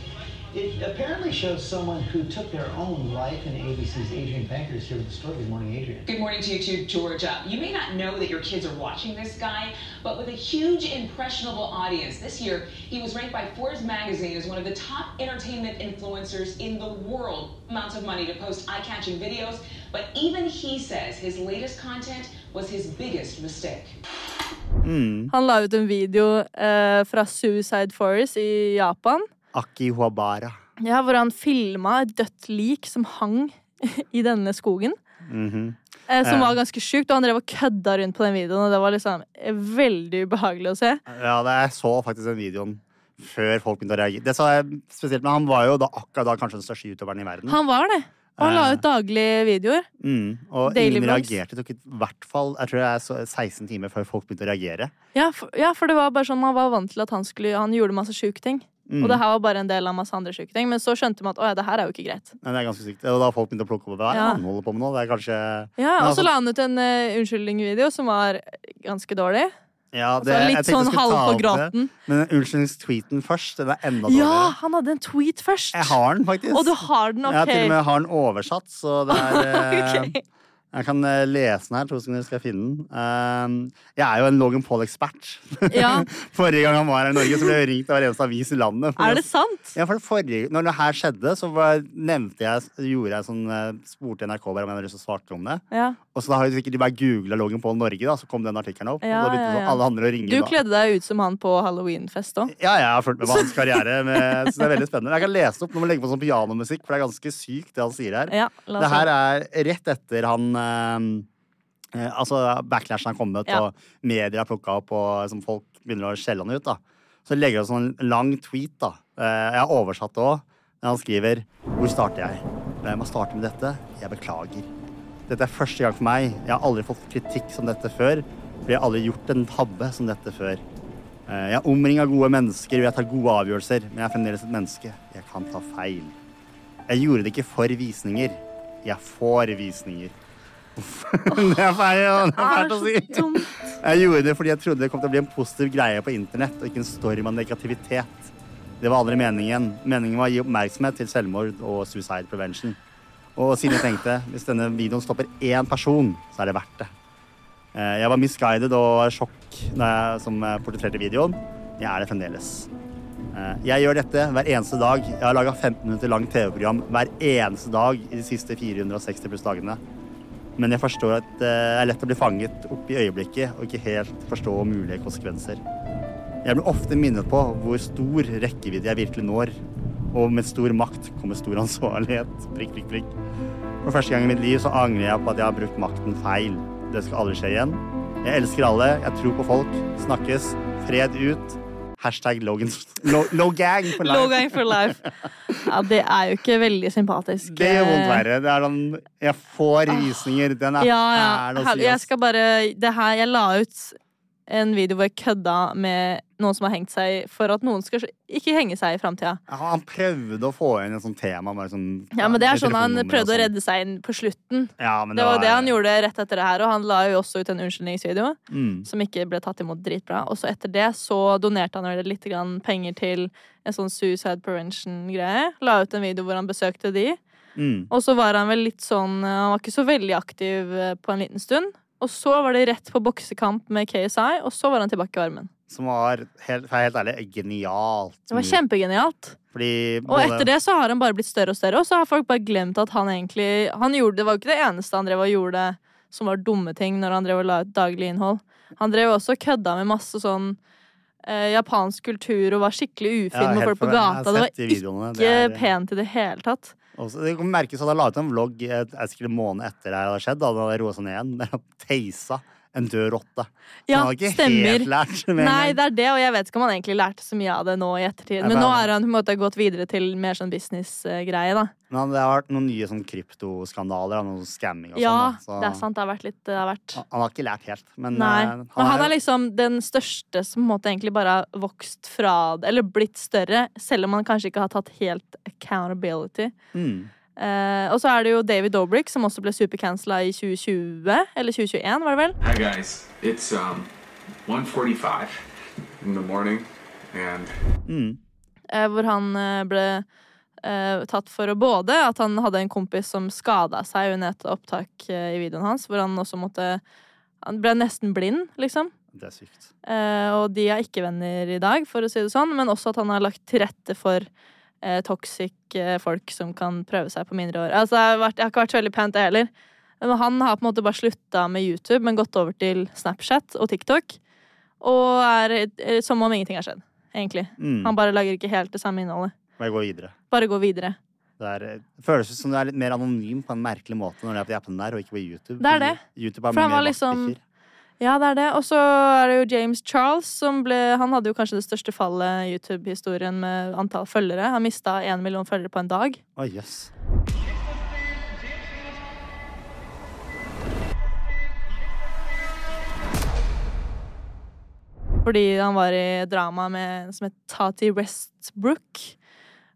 [SPEAKER 8] It apparently shows someone who took their own life, and ABC's Adrian Banker is here with the story. Good morning, Adrian.
[SPEAKER 9] Good morning to you too, Georgia. You may not know that your kids are watching this guy, but with a huge impressionable audience. This year, he was ranked by Forbes magazine as one of the top entertainment influencers in the world. Amounts of money to post eye-catching videos, but even he says his latest content was his biggest mistake.
[SPEAKER 1] Han la ut en video eh, fra Suicide Forest i Japan.
[SPEAKER 2] Aki Huabara.
[SPEAKER 1] Ja, Hvor han filma et dødt lik som hang i denne skogen.
[SPEAKER 2] Mhm.
[SPEAKER 1] Eh, som
[SPEAKER 2] Eh.
[SPEAKER 1] var ganske sjukt, og han drev og kødda rundt på den videoen. Og det var liksom eh, veldig ubehagelig å se.
[SPEAKER 2] Ja, det, jeg så faktisk den videoen før folk begynte å reagere. Det så jeg spesielt, men Han var jo da akkurat da kanskje den største youtuberen i verden.
[SPEAKER 1] Han var det. Og
[SPEAKER 2] Eh.
[SPEAKER 1] han la ut daglige videoer.
[SPEAKER 2] Mm, og
[SPEAKER 1] Daily
[SPEAKER 2] ingen
[SPEAKER 1] Vlogs.
[SPEAKER 2] reagerte. Det tok i hvert fall jeg tror jeg så 16 timer før folk begynte å reagere.
[SPEAKER 1] Ja for, ja, for det var bare sånn man var vant til at han skulle Han gjorde masse sjuke ting.
[SPEAKER 2] Mm.
[SPEAKER 1] Og det her var bare en del av masse andre sjuke ting. Men så skjønte man at å ja, det her er jo ikke greit.
[SPEAKER 2] Men det er ganske sykt. Og da folk begynte å plukke opp hva er det
[SPEAKER 1] Ja.
[SPEAKER 2] han holder på med nå. Det er kanskje...
[SPEAKER 1] Ja, Og
[SPEAKER 2] Men
[SPEAKER 1] så
[SPEAKER 2] altså-
[SPEAKER 1] la han ut en eh, unnskyldning-video som var ganske dårlig.
[SPEAKER 2] Ja,
[SPEAKER 1] Altså,
[SPEAKER 2] det, jeg
[SPEAKER 1] litt
[SPEAKER 2] tenkte jeg
[SPEAKER 1] sånn
[SPEAKER 2] skulle ta
[SPEAKER 1] halv på
[SPEAKER 2] opp det.
[SPEAKER 1] gråten.
[SPEAKER 2] Men unnskyldningstweeten først, den er enda dårligere.
[SPEAKER 1] Ja, han hadde en tweet først!
[SPEAKER 2] Jeg har den faktisk.
[SPEAKER 1] Og du har den, ok.
[SPEAKER 2] Jeg til og med har den oversatt, så det er eh, Jeg kan eh, lese den her, to sekunder skal jeg finne den. Eh, jeg er jo en Logan Paul-ekspert. forrige gang han var her i Norge, så ble jeg ringt av hver eneste avis i landet.
[SPEAKER 1] Er det sant?
[SPEAKER 2] Ja, for det forrige, når det her skjedde, så var, nevnte jeg, gjorde jeg sånn, eh, spurte NRK bare om jeg hadde lyst til å svarte om det.
[SPEAKER 1] Ja.
[SPEAKER 2] Og så da har jo sikkert de bare googla Logan Paul Norge, da, så kom den artikkelen opp.
[SPEAKER 1] Ja,
[SPEAKER 2] og da begynte
[SPEAKER 1] ja,
[SPEAKER 2] sånn,
[SPEAKER 1] ja.
[SPEAKER 2] alle andre å ringe
[SPEAKER 1] Du
[SPEAKER 2] da.
[SPEAKER 1] kledde deg ut som han på halloweenfest òg.
[SPEAKER 2] Ja, jeg har fulgt med på hans karriere. Med, så det er veldig spennende. Jeg kan lese det opp når man legger på sånn pianomusikk, for det er ganske sykt, det han sier her.
[SPEAKER 1] Ja, la oss
[SPEAKER 2] det her er rett etter han eh, eh, Altså, backlashen har kommet,
[SPEAKER 1] Ja.
[SPEAKER 2] og media har plukka opp, og som folk begynner å skjelle han ut, da. Så legger han sånn en lang tweet, da. Eh, jeg har oversatt det òg. Men han skriver Hvor starter jeg? Jeg må starte med dette. Jeg beklager. Dette er første gang for meg. Jeg har aldri fått kritikk som dette før. Fordi jeg har aldri gjort en tabbe som dette før. Eh, Jeg er omringa av gode mennesker og jeg tar gode avgjørelser, men jeg er fremdeles et menneske. Jeg kan ta feil. Jeg gjorde det ikke for visninger. Jeg får visninger. det er feil, ja. det er fælt å si. Jeg gjorde det fordi jeg trodde det kom til å bli en positiv greie på internett, og ikke en storm av negativitet. Det var aldri meningen. Meningen var å gi oppmerksomhet til selvmord og suicide prevention. Og siden jeg tenkte, hvis denne videoen stopper én person, så er det verdt det. Eh, Jeg var misguided og sjokk da jeg, som eh, portretterte videoen. Jeg er det fremdeles. Eh, Jeg gjør dette hver eneste dag. Jeg har laga 15 minutter langt TV-program hver eneste dag i de siste 460 pluss dagene. Men jeg forstår at eh, det er lett å bli fanget opp i øyeblikket og ikke helt forstå mulige konsekvenser. Jeg blir ofte minnet på hvor stor rekkevidde jeg virkelig når. Og med stor makt kommer stor ansvarlighet. Prikk, prikk, prikk. For første gang i mitt liv så angrer jeg på at jeg har brukt makten feil. Det skal aldri skje igjen. Jeg elsker alle. Jeg tror på folk. Snakkes. Fred ut. Hashtag Logan... Lo, Logang for life.
[SPEAKER 1] Logang for life. Ja, det er jo ikke veldig sympatisk. eh,
[SPEAKER 2] Det gjør vondt verre. Det er sånn Jeg får visninger. Den er
[SPEAKER 1] Ja,
[SPEAKER 2] fæl
[SPEAKER 1] ja.
[SPEAKER 2] å
[SPEAKER 1] Hel-
[SPEAKER 2] si.
[SPEAKER 1] Jeg
[SPEAKER 2] ass.
[SPEAKER 1] skal bare Det her Jeg la ut en video hvor jeg kødda med noen som har hengt seg, for at noen skal ikke henge seg i framtida.
[SPEAKER 2] Ja, han prøvde å få inn et sånt tema. Bare sånn,
[SPEAKER 1] Ja, men det er sånn han
[SPEAKER 2] telefonnummer og
[SPEAKER 1] prøvde å
[SPEAKER 2] sånn.
[SPEAKER 1] redde seg inn på slutten.
[SPEAKER 2] Ja, men
[SPEAKER 1] Det var det han gjorde rett etter det her, og han la jo også ut en unnskyldningsvideo
[SPEAKER 2] Mm.
[SPEAKER 1] som ikke ble tatt imot dritbra. Og så etter det så donerte han vel litt grann penger til en sånn suicide prevention-greie. La ut en video hvor han besøkte de.
[SPEAKER 2] Mm.
[SPEAKER 1] Og så var han vel litt sånn eh, Han var ikke så veldig aktiv eh, på en liten stund. Og så var det rett på boksekamp med KSI, og så var han tilbake i varmen.
[SPEAKER 2] Som var, helt, for å være helt ærlig, genialt.
[SPEAKER 1] Det var kjempegenialt.
[SPEAKER 2] Fordi
[SPEAKER 1] Og etter det så har han bare blitt større og større, og så har folk bare glemt at han egentlig han gjorde, Det var jo ikke det eneste han drev og gjorde som var dumme ting når han drev og la ut daglig innhold. Han drev også og kødda med masse sånn eh, japansk kultur og var skikkelig ufin
[SPEAKER 2] Ja,
[SPEAKER 1] med
[SPEAKER 2] helt
[SPEAKER 1] folk på
[SPEAKER 2] for- jeg har
[SPEAKER 1] gata. Det var
[SPEAKER 2] sett de videoene.
[SPEAKER 1] ikke
[SPEAKER 2] Det er-
[SPEAKER 1] pent i det hele tatt.
[SPEAKER 2] Også, det kan merkes at han la ut en vlogg eh, jeg sikkert en måned etter det her hadde skjedd. Da han hadde roet seg ned igjen. Der han teisa en død rotte. Så
[SPEAKER 1] Ja,
[SPEAKER 2] han hadde ikke
[SPEAKER 1] stemmer.
[SPEAKER 2] helt lært med en
[SPEAKER 1] Nei,
[SPEAKER 2] gang.
[SPEAKER 1] det er det, og jeg vet ikke om han egentlig lærte så mye av det nå i ettertid.
[SPEAKER 2] Nei,
[SPEAKER 1] Men
[SPEAKER 2] det
[SPEAKER 1] nå
[SPEAKER 2] er-
[SPEAKER 1] er han på en måte gått videre til mer sånn business-greie, da.
[SPEAKER 2] Men han- det har vært noen nye sånn kryptoskandaler og noe scamming og
[SPEAKER 1] Ja,
[SPEAKER 2] sånn. da, så
[SPEAKER 1] det er sant. Det har vært litt det har vært
[SPEAKER 2] Han, han har ikke lært helt, men
[SPEAKER 1] Nei.
[SPEAKER 2] eh,
[SPEAKER 1] Men han er liksom den største som på en måte egentlig bare har vokst fra det, eller blitt større, selv om han kanskje ikke har tatt helt accountability.
[SPEAKER 2] Mm.
[SPEAKER 1] Eh, og så er det jo David Dobrik, som også ble supercancela i 2020, eller 2021, var det vel?
[SPEAKER 10] Hi guys, it's um 1:45 in the morning, and
[SPEAKER 2] Mm.
[SPEAKER 1] Eh, hvor han eh, ble eh, tatt for å både at han hadde en kompis som skada seg under et opptak eh, i videoen hans, hvor han også måtte Han ble nesten blind, liksom.
[SPEAKER 2] Det er sykt.
[SPEAKER 1] Eh, og de er ikke venner i dag, for å si det sånn, men også at han har lagt til rette for eh, toxic eh, folk som kan prøve seg på mindre år. Altså, jeg har, vært, jeg har ikke vært så veldig pent, det heller. Men han har på en måte bare slutta med YouTube, men gått over til Snapchat og TikTok. Og er eh, som om ingenting har skjedd, egentlig.
[SPEAKER 2] Mm.
[SPEAKER 1] Han bare lager ikke helt det samme innholdet.
[SPEAKER 2] Må jeg gå videre.
[SPEAKER 1] Bare gå videre.
[SPEAKER 2] Det er, eh, føles ut som du er litt mer anonym på en merkelig måte når du er på de appene der, og ikke på YouTube.
[SPEAKER 1] Det er det.
[SPEAKER 2] YouTube er
[SPEAKER 1] For han
[SPEAKER 2] mer
[SPEAKER 1] var liksom
[SPEAKER 2] vaktbikkjer.
[SPEAKER 1] Ja, det er det. Og så er det jo James Charles, som ble Han hadde jo kanskje det største fallet i YouTube-historien med antall følgere. Han mista én million følgere på en dag.
[SPEAKER 2] Å, jøss.
[SPEAKER 1] Fordi han var i drama med en som het Tati Westbrook.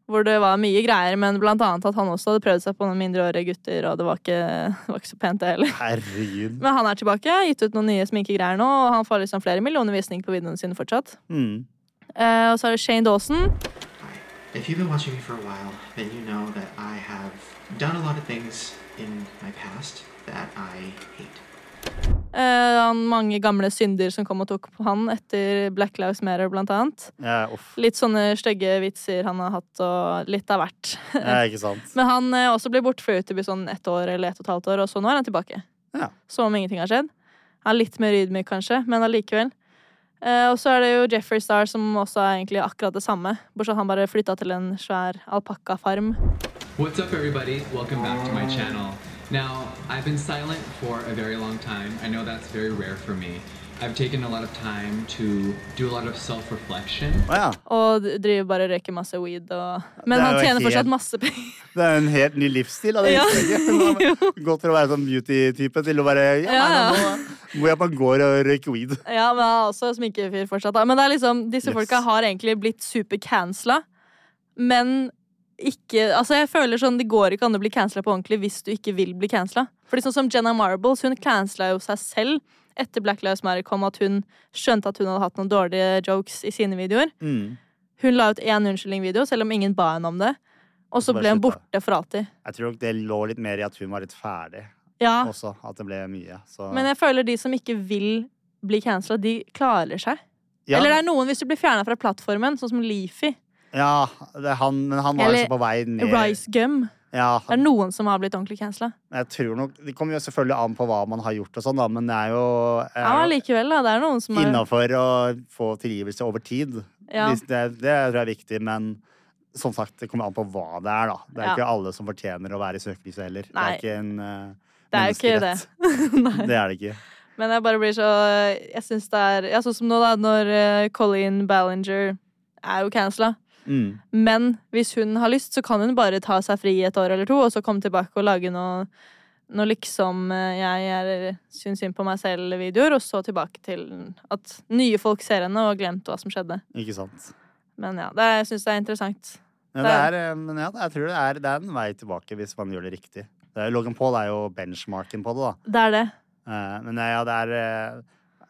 [SPEAKER 1] Hvor det var mye greier, men blant annet at han også hadde prøvd seg på noen mindreårige gutter, og det var ikke, det var ikke så pent, det heller.
[SPEAKER 2] Herregud.
[SPEAKER 1] Men han er tilbake, gitt ut noen nye sminkegreier nå, og han får liksom flere millioner visninger på videoene sine fortsatt.
[SPEAKER 2] Mm.
[SPEAKER 1] Eh, og så er det Shane Dawson.
[SPEAKER 11] If you've been watching me for a while, then you know that I have done a lot of things in my past that I hate.
[SPEAKER 1] Eh, han mange gamle synder som kom og tok på han etter Black Lives Matter, blant annet.
[SPEAKER 2] Ja, uff.
[SPEAKER 1] Litt sånne stygge vitser han har hatt, og litt av hvert.
[SPEAKER 2] Ja, ikke sant.
[SPEAKER 1] Men han eh, også ble borte fra YouTube i sånn ett år eller ett og et halvt år, og så nå er han tilbake.
[SPEAKER 2] Ja.
[SPEAKER 1] Som om ingenting har skjedd. Han er litt mer ydmyk, kanskje, men allikevel. Eh, og så er det jo Jeffrey Star, som også er egentlig akkurat det samme, bortsett fra at han bare flytta til en svær alpakkafarm.
[SPEAKER 12] What's up, everybody? Welcome back to my channel. Now, I've been silent for a very long time. I know that's very rare for me. I've taken a lot of time to do a lot of self reflection.
[SPEAKER 1] Og d- driver bare og røyker masse weed og
[SPEAKER 2] Det
[SPEAKER 1] Men
[SPEAKER 2] er
[SPEAKER 1] han
[SPEAKER 2] jo
[SPEAKER 1] tjener
[SPEAKER 2] helt-
[SPEAKER 1] fortsatt masse penger.
[SPEAKER 2] Det er en helt ny livsstil. da, Det
[SPEAKER 1] Ja.
[SPEAKER 2] ja. Gått fra å være sånn beauty-type til å bare ja,
[SPEAKER 1] Ja,
[SPEAKER 2] nei,
[SPEAKER 1] ja.
[SPEAKER 2] nå Hvor jeg bare går og røyker weed.
[SPEAKER 1] Ja, men han er også sminkefyr fortsatt. Da. Men det er liksom, disse
[SPEAKER 2] Yes.
[SPEAKER 1] folka har egentlig blitt supercancela, men ikke Altså, jeg føler sånn, det går ikke an å bli cancela på ordentlig hvis du ikke vil bli cancela. Fordi sånn som Jenna Marbles, hun cancela jo seg selv etter Black Lives Matter kom, at hun skjønte at hun hadde hatt noen dårlige jokes i sine videoer.
[SPEAKER 2] Mm.
[SPEAKER 1] Hun la ut én unnskyldning-video, selv om ingen ba henne om det. Og så
[SPEAKER 2] Bare
[SPEAKER 1] ble hun
[SPEAKER 2] slutta.
[SPEAKER 1] borte for alltid.
[SPEAKER 2] Jeg tror nok det lå litt mer i at hun var litt ferdig
[SPEAKER 1] Ja.
[SPEAKER 2] også. At det ble mye. Så.
[SPEAKER 1] Men jeg føler de som ikke vil bli cancela, de klarer seg.
[SPEAKER 2] Ja.
[SPEAKER 1] Eller det er noen hvis du blir fjerna fra plattformen, sånn som Leafy.
[SPEAKER 2] Ja, det er han, men han var
[SPEAKER 1] Eller
[SPEAKER 2] jo så på vei ned.
[SPEAKER 1] Rice Gum.
[SPEAKER 2] Ja,
[SPEAKER 1] Det er noen som har blitt ordentlig cancela.
[SPEAKER 2] jeg tror nok, Det kommer jo selvfølgelig an på hva man har gjort, og sånn, da, men det er jo, er
[SPEAKER 1] Ja,
[SPEAKER 2] jo
[SPEAKER 1] likevel, da. Det er noen som har
[SPEAKER 2] innafor å få tilgivelse over tid.
[SPEAKER 1] Ja.
[SPEAKER 2] Hvis Det, det tror jeg er viktig, men som sagt, det kommer an på hva det er. da. Det er
[SPEAKER 1] Ja.
[SPEAKER 2] ikke alle som fortjener å være i søkelyset heller.
[SPEAKER 1] Nei.
[SPEAKER 2] Det er ikke en eh,
[SPEAKER 1] Det er jo ikke det.
[SPEAKER 2] menneskerett. Det er det ikke.
[SPEAKER 1] Men jeg bare blir så Jeg syns det er ja, Sånn som nå, da, når eh, Colleen Ballinger er jo cancela.
[SPEAKER 2] Mm.
[SPEAKER 1] Men hvis hun har lyst, så kan hun bare ta seg fri i et år eller to, og så komme tilbake og lage noe, noe liksom eh, jeg er- syns synd på meg selv-videoer, og så tilbake til at nye folk ser henne og har glemt hva som skjedde.
[SPEAKER 2] Ikke sant.
[SPEAKER 1] Men ja, det, jeg syns det er interessant.
[SPEAKER 2] Ja, det er, eh, men ja, jeg tror det er, det er en vei tilbake hvis man gjør det riktig. Det er, Logan Paul er jo benchmarken på det, da.
[SPEAKER 1] Det er det.
[SPEAKER 2] Eh, Men ja, det er eh,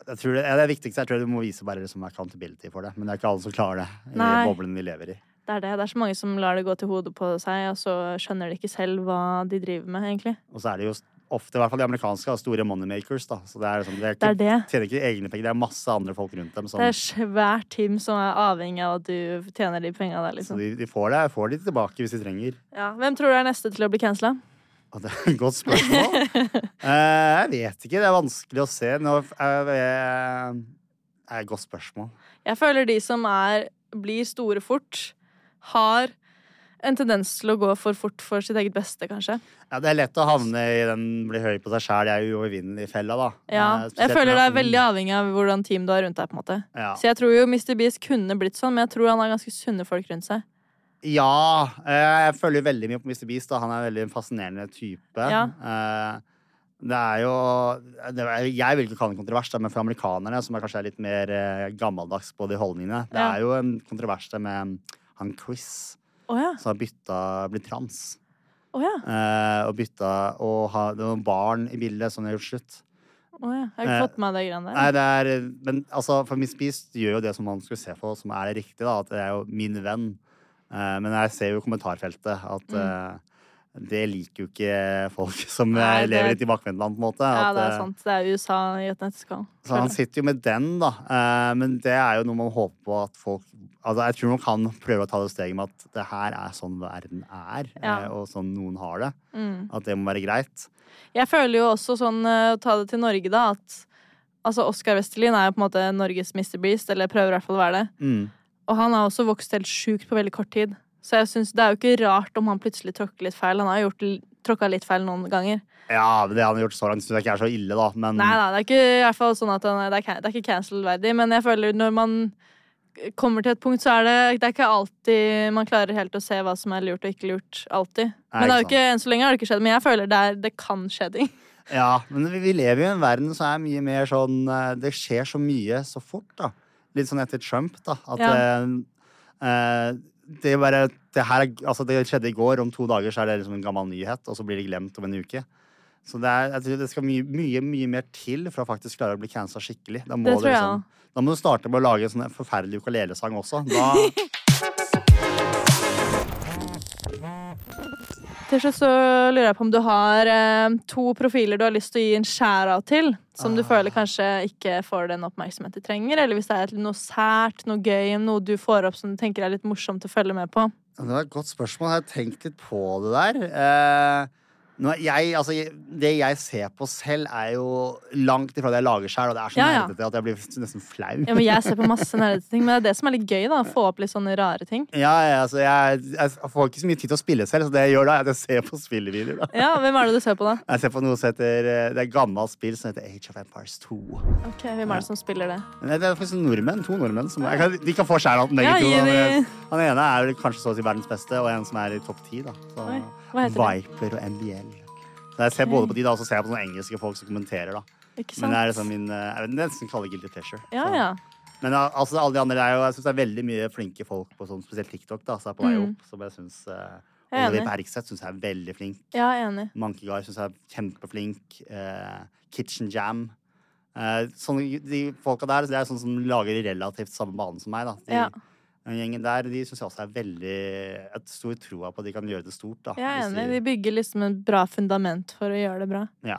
[SPEAKER 2] jeg tror det, ja, det er viktigste jeg tror du må vise bare liksom accountability for det. Men det er ikke alle som klarer det i
[SPEAKER 1] Nei.
[SPEAKER 2] boblen vi lever i.
[SPEAKER 1] Det er det. Det er så mange som lar det gå til hodet på seg, og så skjønner de ikke selv hva de driver med, egentlig.
[SPEAKER 2] Og så er det jo ofte, i hvert fall de amerikanske, har store moneymakers. da. Så det er, liksom, det er ikke,
[SPEAKER 1] Det er det.
[SPEAKER 2] tjener ikke egne penger. Det er masse andre folk rundt dem. Som,
[SPEAKER 1] Det er svært team som er avhengig av at du tjener de penga der,
[SPEAKER 2] så
[SPEAKER 1] liksom.
[SPEAKER 2] de, de får det, får de tilbake hvis de trenger.
[SPEAKER 1] Ja. Hvem tror du er neste til å bli cancela?
[SPEAKER 2] Og det er et godt spørsmål. Eh, jeg vet ikke. Det er vanskelig å se. Nå, eh, eh, det er et godt spørsmål.
[SPEAKER 1] Jeg føler de som er, blir store fort, har en tendens til å gå for fort for sitt eget beste, kanskje.
[SPEAKER 2] Ja, det er lett å havne i den bli høy på seg sjæl, jeg er uovervinnelig-fella, da.
[SPEAKER 1] Ja,
[SPEAKER 2] Eh,
[SPEAKER 1] jeg
[SPEAKER 2] spesielt
[SPEAKER 1] føler
[SPEAKER 2] når-
[SPEAKER 1] det er veldig avhengig av hvordan team du har rundt deg. på en måte
[SPEAKER 2] Ja.
[SPEAKER 1] Så jeg tror jo Mr. Beast kunne blitt sånn, men jeg tror han har ganske sunne folk rundt seg.
[SPEAKER 2] Ja. eh, Jeg følger veldig mye på Mr. Beast. Da. Han er veldig en fascinerende type.
[SPEAKER 1] Ja.
[SPEAKER 2] Eh, Det er jo det er, Jeg vil ikke kalle det en kontrovers, da, men for amerikanerne, som er kanskje er litt mer eh, gammeldags på de holdningene, det
[SPEAKER 1] Ja.
[SPEAKER 2] er jo en kontrovers der med mm, han Chris
[SPEAKER 1] Å ja.
[SPEAKER 2] som har bytta blitt trans.
[SPEAKER 1] Å ja.
[SPEAKER 2] Eh, og bytta og ha, Det var barn i bildet som har gjort slutt.
[SPEAKER 1] Å ja. Jeg har ikke
[SPEAKER 2] Eh,
[SPEAKER 1] fått med meg de greiene der.
[SPEAKER 2] Nei, det er Men altså, for Miss Beast gjør jo det som man skulle se på, som er det riktige, da. At det er jo min venn. Eh, men jeg ser jo i kommentarfeltet at
[SPEAKER 1] Mm.
[SPEAKER 2] eh, det liker jo ikke folk som eh,
[SPEAKER 1] Nei, det-
[SPEAKER 2] lever litt i bakvendtland, på en måte.
[SPEAKER 1] Ja,
[SPEAKER 2] at,
[SPEAKER 1] det er
[SPEAKER 2] eh,
[SPEAKER 1] sant. Det er USA i et nøtteskall.
[SPEAKER 2] Så han sitter jo med den, da. Eh, Men det er jo noe man håper på at folk Altså, jeg tror nok han prøver å ta det steget med at det her er sånn verden er, eh,
[SPEAKER 1] Ja.
[SPEAKER 2] og sånn noen har det.
[SPEAKER 1] Mm.
[SPEAKER 2] At det må være greit.
[SPEAKER 1] Jeg føler jo også sånn, eh, å ta det til Norge, da, at altså Oscar Westerlin er jo på en måte Norges Mr. Beast, eller prøver i hvert fall å være det.
[SPEAKER 2] Mm.
[SPEAKER 1] Og han har også vokst helt sjukt på veldig kort tid. Så jeg synes det er jo ikke rart om han plutselig tråkker litt feil. Han har jo gjort l- tråkka litt feil noen ganger.
[SPEAKER 2] Ja, men det han har gjort så langt, syns jeg ikke er så ille, da. Men
[SPEAKER 1] Nei da, det er ikke i hvert fall sånn at han er, det, er, can- det er ikke cancel-verdig, men jeg føler når man kommer til et punkt, så er det, det er ikke alltid man klarer helt å se hva som er lurt og ikke lurt. Alltid.
[SPEAKER 2] Nei,
[SPEAKER 1] Men det er jo
[SPEAKER 2] ikke
[SPEAKER 1] ikke, enn så lenge har det ikke skjedd, men jeg føler det, er, det kan skje ting.
[SPEAKER 2] Ja, men vi, vi lever jo i en verden som er mye mer sånn eh, Det skjer så mye så fort, da. Litt sånn etter Trump, da. At
[SPEAKER 1] Ja.
[SPEAKER 2] eh, eh, det er bare det, her er, altså det skjedde i går, om to dager så er det liksom en gammel nyhet, og så blir det glemt om en uke. Så det, er, jeg tror det skal mye, mye mye mer til for å faktisk klare å bli cansa skikkelig. Da må,
[SPEAKER 1] Det
[SPEAKER 2] du
[SPEAKER 1] tror jeg
[SPEAKER 2] liksom, da må du starte med å lage en sånn forferdelig ukulelesang også. Da,
[SPEAKER 1] Til slutt så lurer jeg på om du har eh, to profiler du har lyst til å gi en skjæra til, som du føler kanskje ikke får den oppmerksomhet de trenger, eller hvis det er et- noe sært, noe gøy, noe du får opp som du tenker er litt morsomt å følge med på.
[SPEAKER 2] Det var et godt spørsmål. Jeg har tenkt litt på det der. Eh, nå er jeg, altså, jeg- det jeg ser på selv, er jo langt ifra det jeg lager sjøl, og det er så
[SPEAKER 1] Ja, ja.
[SPEAKER 2] nerdete at jeg blir nesten flau.
[SPEAKER 1] Ja, men jeg ser på masse nerdete ting, men det er det som er litt gøy, da. Å få opp litt sånne rare ting.
[SPEAKER 2] Ja, ja, altså, jeg, jeg får ikke så mye tid til å spille selv, så det jeg gjør da, er at jeg ser på spillevideoer. da.
[SPEAKER 1] Ja, hvem er det du ser på, da?
[SPEAKER 2] Jeg ser på noe som heter, eh, Det er et gammelt spill som heter Age of Empires 2.
[SPEAKER 1] Ok, Hvem er det som spiller det?
[SPEAKER 2] Men Det det er faktisk nordmenn, to nordmenn. Som, jeg kan, de kan få skjæra, begge
[SPEAKER 1] Ja,
[SPEAKER 2] to.
[SPEAKER 1] gi
[SPEAKER 2] da, men
[SPEAKER 1] de-
[SPEAKER 2] Han ene er vel kanskje så å si verdens beste, og en som er i topp ti. da. Så-
[SPEAKER 1] Oi, hva heter det?
[SPEAKER 2] Viper og NBL. Så jeg ser
[SPEAKER 1] Ok.
[SPEAKER 2] både på de da, og så ser jeg på sånne engelske folk som kommenterer. da.
[SPEAKER 1] Ikke sant?
[SPEAKER 2] Men det sånn- er liksom min, eh, jeg vil nesten kalle det guilty pleasure.
[SPEAKER 1] Ja,
[SPEAKER 2] Så-
[SPEAKER 1] ja.
[SPEAKER 2] Men ja, altså, alle de andre er jo, jeg synes det er veldig mye flinke folk på sånn, spesielt TikTok, da, som er på vei
[SPEAKER 1] Mm.
[SPEAKER 2] opp. Som jeg synes, eh,
[SPEAKER 1] Jeg er
[SPEAKER 2] Oliver
[SPEAKER 1] enig.
[SPEAKER 2] Bergseth synes jeg er veldig flink.
[SPEAKER 1] Ja, jeg er enig.
[SPEAKER 2] Mankegar syns jeg er kjempeflink. Eh, Kitchen Jam. Eh, sånne, de folka der det er sånne som lager relativt samme bane som meg. Da. De,
[SPEAKER 1] Ja.
[SPEAKER 2] Den gjengen der de syns jeg også er veldig Jeg har stor troa på at de kan gjøre det stort. Da,
[SPEAKER 1] Jeg er
[SPEAKER 2] hvis
[SPEAKER 1] enig.
[SPEAKER 2] de-
[SPEAKER 1] De bygger liksom et bra fundament for å gjøre det bra.
[SPEAKER 2] ja.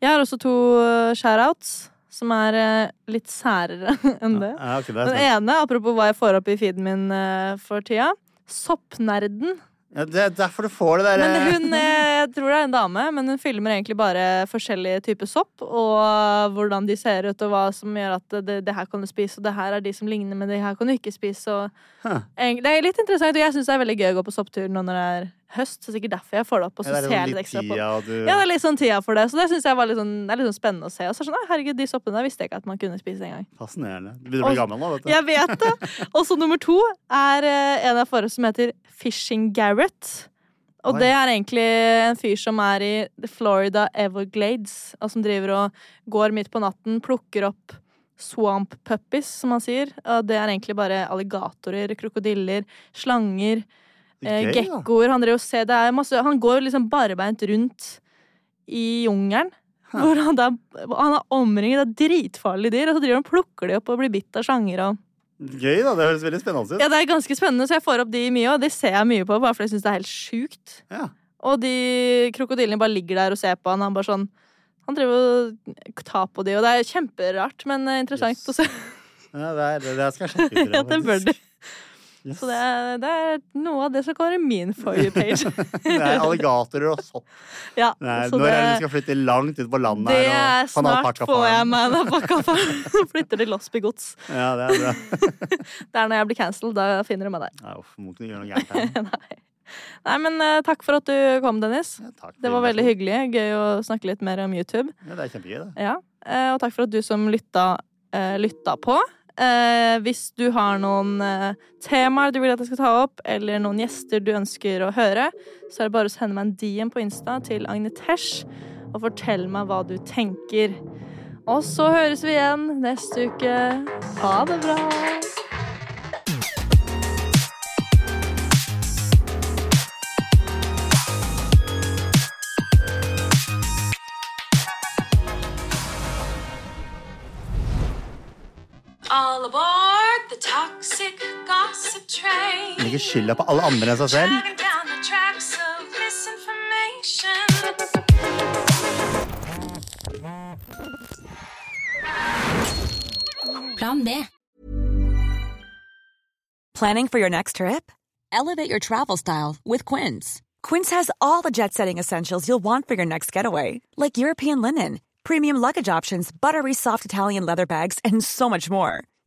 [SPEAKER 1] Jeg har også to eh, shoutouts, som er eh, litt særere enn det.
[SPEAKER 2] Ja, ok, det er
[SPEAKER 1] Den
[SPEAKER 2] sant.
[SPEAKER 1] ene, apropos hva jeg får opp i feeden min eh, for tida, Soppnerden.
[SPEAKER 2] ja, det er derfor du får det der
[SPEAKER 1] Men
[SPEAKER 2] eh,
[SPEAKER 1] hun, eh, jeg tror det er en dame, men hun filmer egentlig bare forskjellige typer sopp, og hvordan de ser ut, og hva som gjør at det, det her kan du spise, og det her er de som ligner, men det her kan du ikke spise, og Egentlig- Det er litt interessant, og jeg syns det er veldig gøy å gå på sopptur nå når det er høst, så det er sikkert derfor jeg får det opp, og så
[SPEAKER 2] Ja, det er
[SPEAKER 1] ser jeg
[SPEAKER 2] litt
[SPEAKER 1] litt ekstra på.
[SPEAKER 2] tida, og du-
[SPEAKER 1] Ja, det er litt sånn tida for det, så det syns jeg var litt sånn, det er litt sånn spennende å se. Og så er det sånn, «Å, herregud, de soppene der visste jeg ikke at man kunne spise engang.
[SPEAKER 2] Fascinerende. Du begynner å bli
[SPEAKER 1] Og-
[SPEAKER 2] gammel nå, vet du.
[SPEAKER 1] Jeg vet det. Og så nummer to er eh, en jeg får opp som heter Fishing Garrett. Og
[SPEAKER 2] Oi.
[SPEAKER 1] det er egentlig en fyr som er i The Florida Everglades, og som driver og går midt på natten, plukker opp swamp puppies, som han sier. Og det er egentlig bare alligatorer, krokodiller, slanger, eh,
[SPEAKER 2] Gøy, da.
[SPEAKER 1] gekkoer. Han driver og ser, det er masse Han går liksom barbeint rundt i jungelen. Hvor han, da, han er omringet av dritfarlige dyr, og så driver han og plukker de opp og blir bitt av slanger. Og...
[SPEAKER 2] Gøy, da. Det høres veldig spennende ut.
[SPEAKER 1] Ja, det er ganske spennende, så jeg får opp de mye, og de ser jeg mye på, bare fordi jeg syns det er helt sjukt. Og de krokodillene bare ligger der og ser på han, han bare sånn Han driver og tar på de, og det er kjemperart, men eh, interessant å se.
[SPEAKER 2] Ja, det, er, det- det skal jeg sjekke ut. i
[SPEAKER 1] ja,
[SPEAKER 2] dag,
[SPEAKER 1] det bør du.
[SPEAKER 2] faktisk.
[SPEAKER 1] Så det er, det er noe av det som går i min for you-page.
[SPEAKER 2] Det er alligatorer og sopp.
[SPEAKER 1] ja,
[SPEAKER 2] Nei,
[SPEAKER 1] så
[SPEAKER 2] Når er det vi
[SPEAKER 1] det-
[SPEAKER 2] skal flytte langt ut på landet
[SPEAKER 1] Det
[SPEAKER 2] her?
[SPEAKER 1] er
[SPEAKER 2] og få en
[SPEAKER 1] snart
[SPEAKER 2] alpakka
[SPEAKER 1] får jeg
[SPEAKER 2] farm?
[SPEAKER 1] meg en alpakkafarm. Flytter til Losby gods.
[SPEAKER 2] Ja, det er bra.
[SPEAKER 1] Det er når jeg blir cancelled. Da finner du meg der.
[SPEAKER 2] Nei, uff, må ikke gjøre noe gærent her.
[SPEAKER 1] Nei, men eh, takk for at du kom, Dennis. det var veldig hyggelig. Gøy å snakke litt mer om YouTube.
[SPEAKER 2] Ja, det er kjempegøy, det.
[SPEAKER 1] Ja, eh, Og takk for at du som lytta, eh, lytta på. Eh, hvis du har noen eh, temaer du vil at jeg skal ta opp, eller noen gjester du ønsker å høre, så er det bare å sende meg en DM på Insta til Agnetesh og fortell meg hva du tenker. Og så høres vi igjen neste uke. Ha det bra.
[SPEAKER 7] All aboard the toxic gossip. gossip train.
[SPEAKER 2] Legger skylda på alle andre enn seg selv.
[SPEAKER 7] Dragging down the tracks of misinformation.
[SPEAKER 13] Plan B. Planning for your next trip? Elevate your travel style with Quince. Quince has all the jet setting essentials you'll want for your next getaway, like European linen, premium luggage options, buttery soft Italian leather bags, and so much more.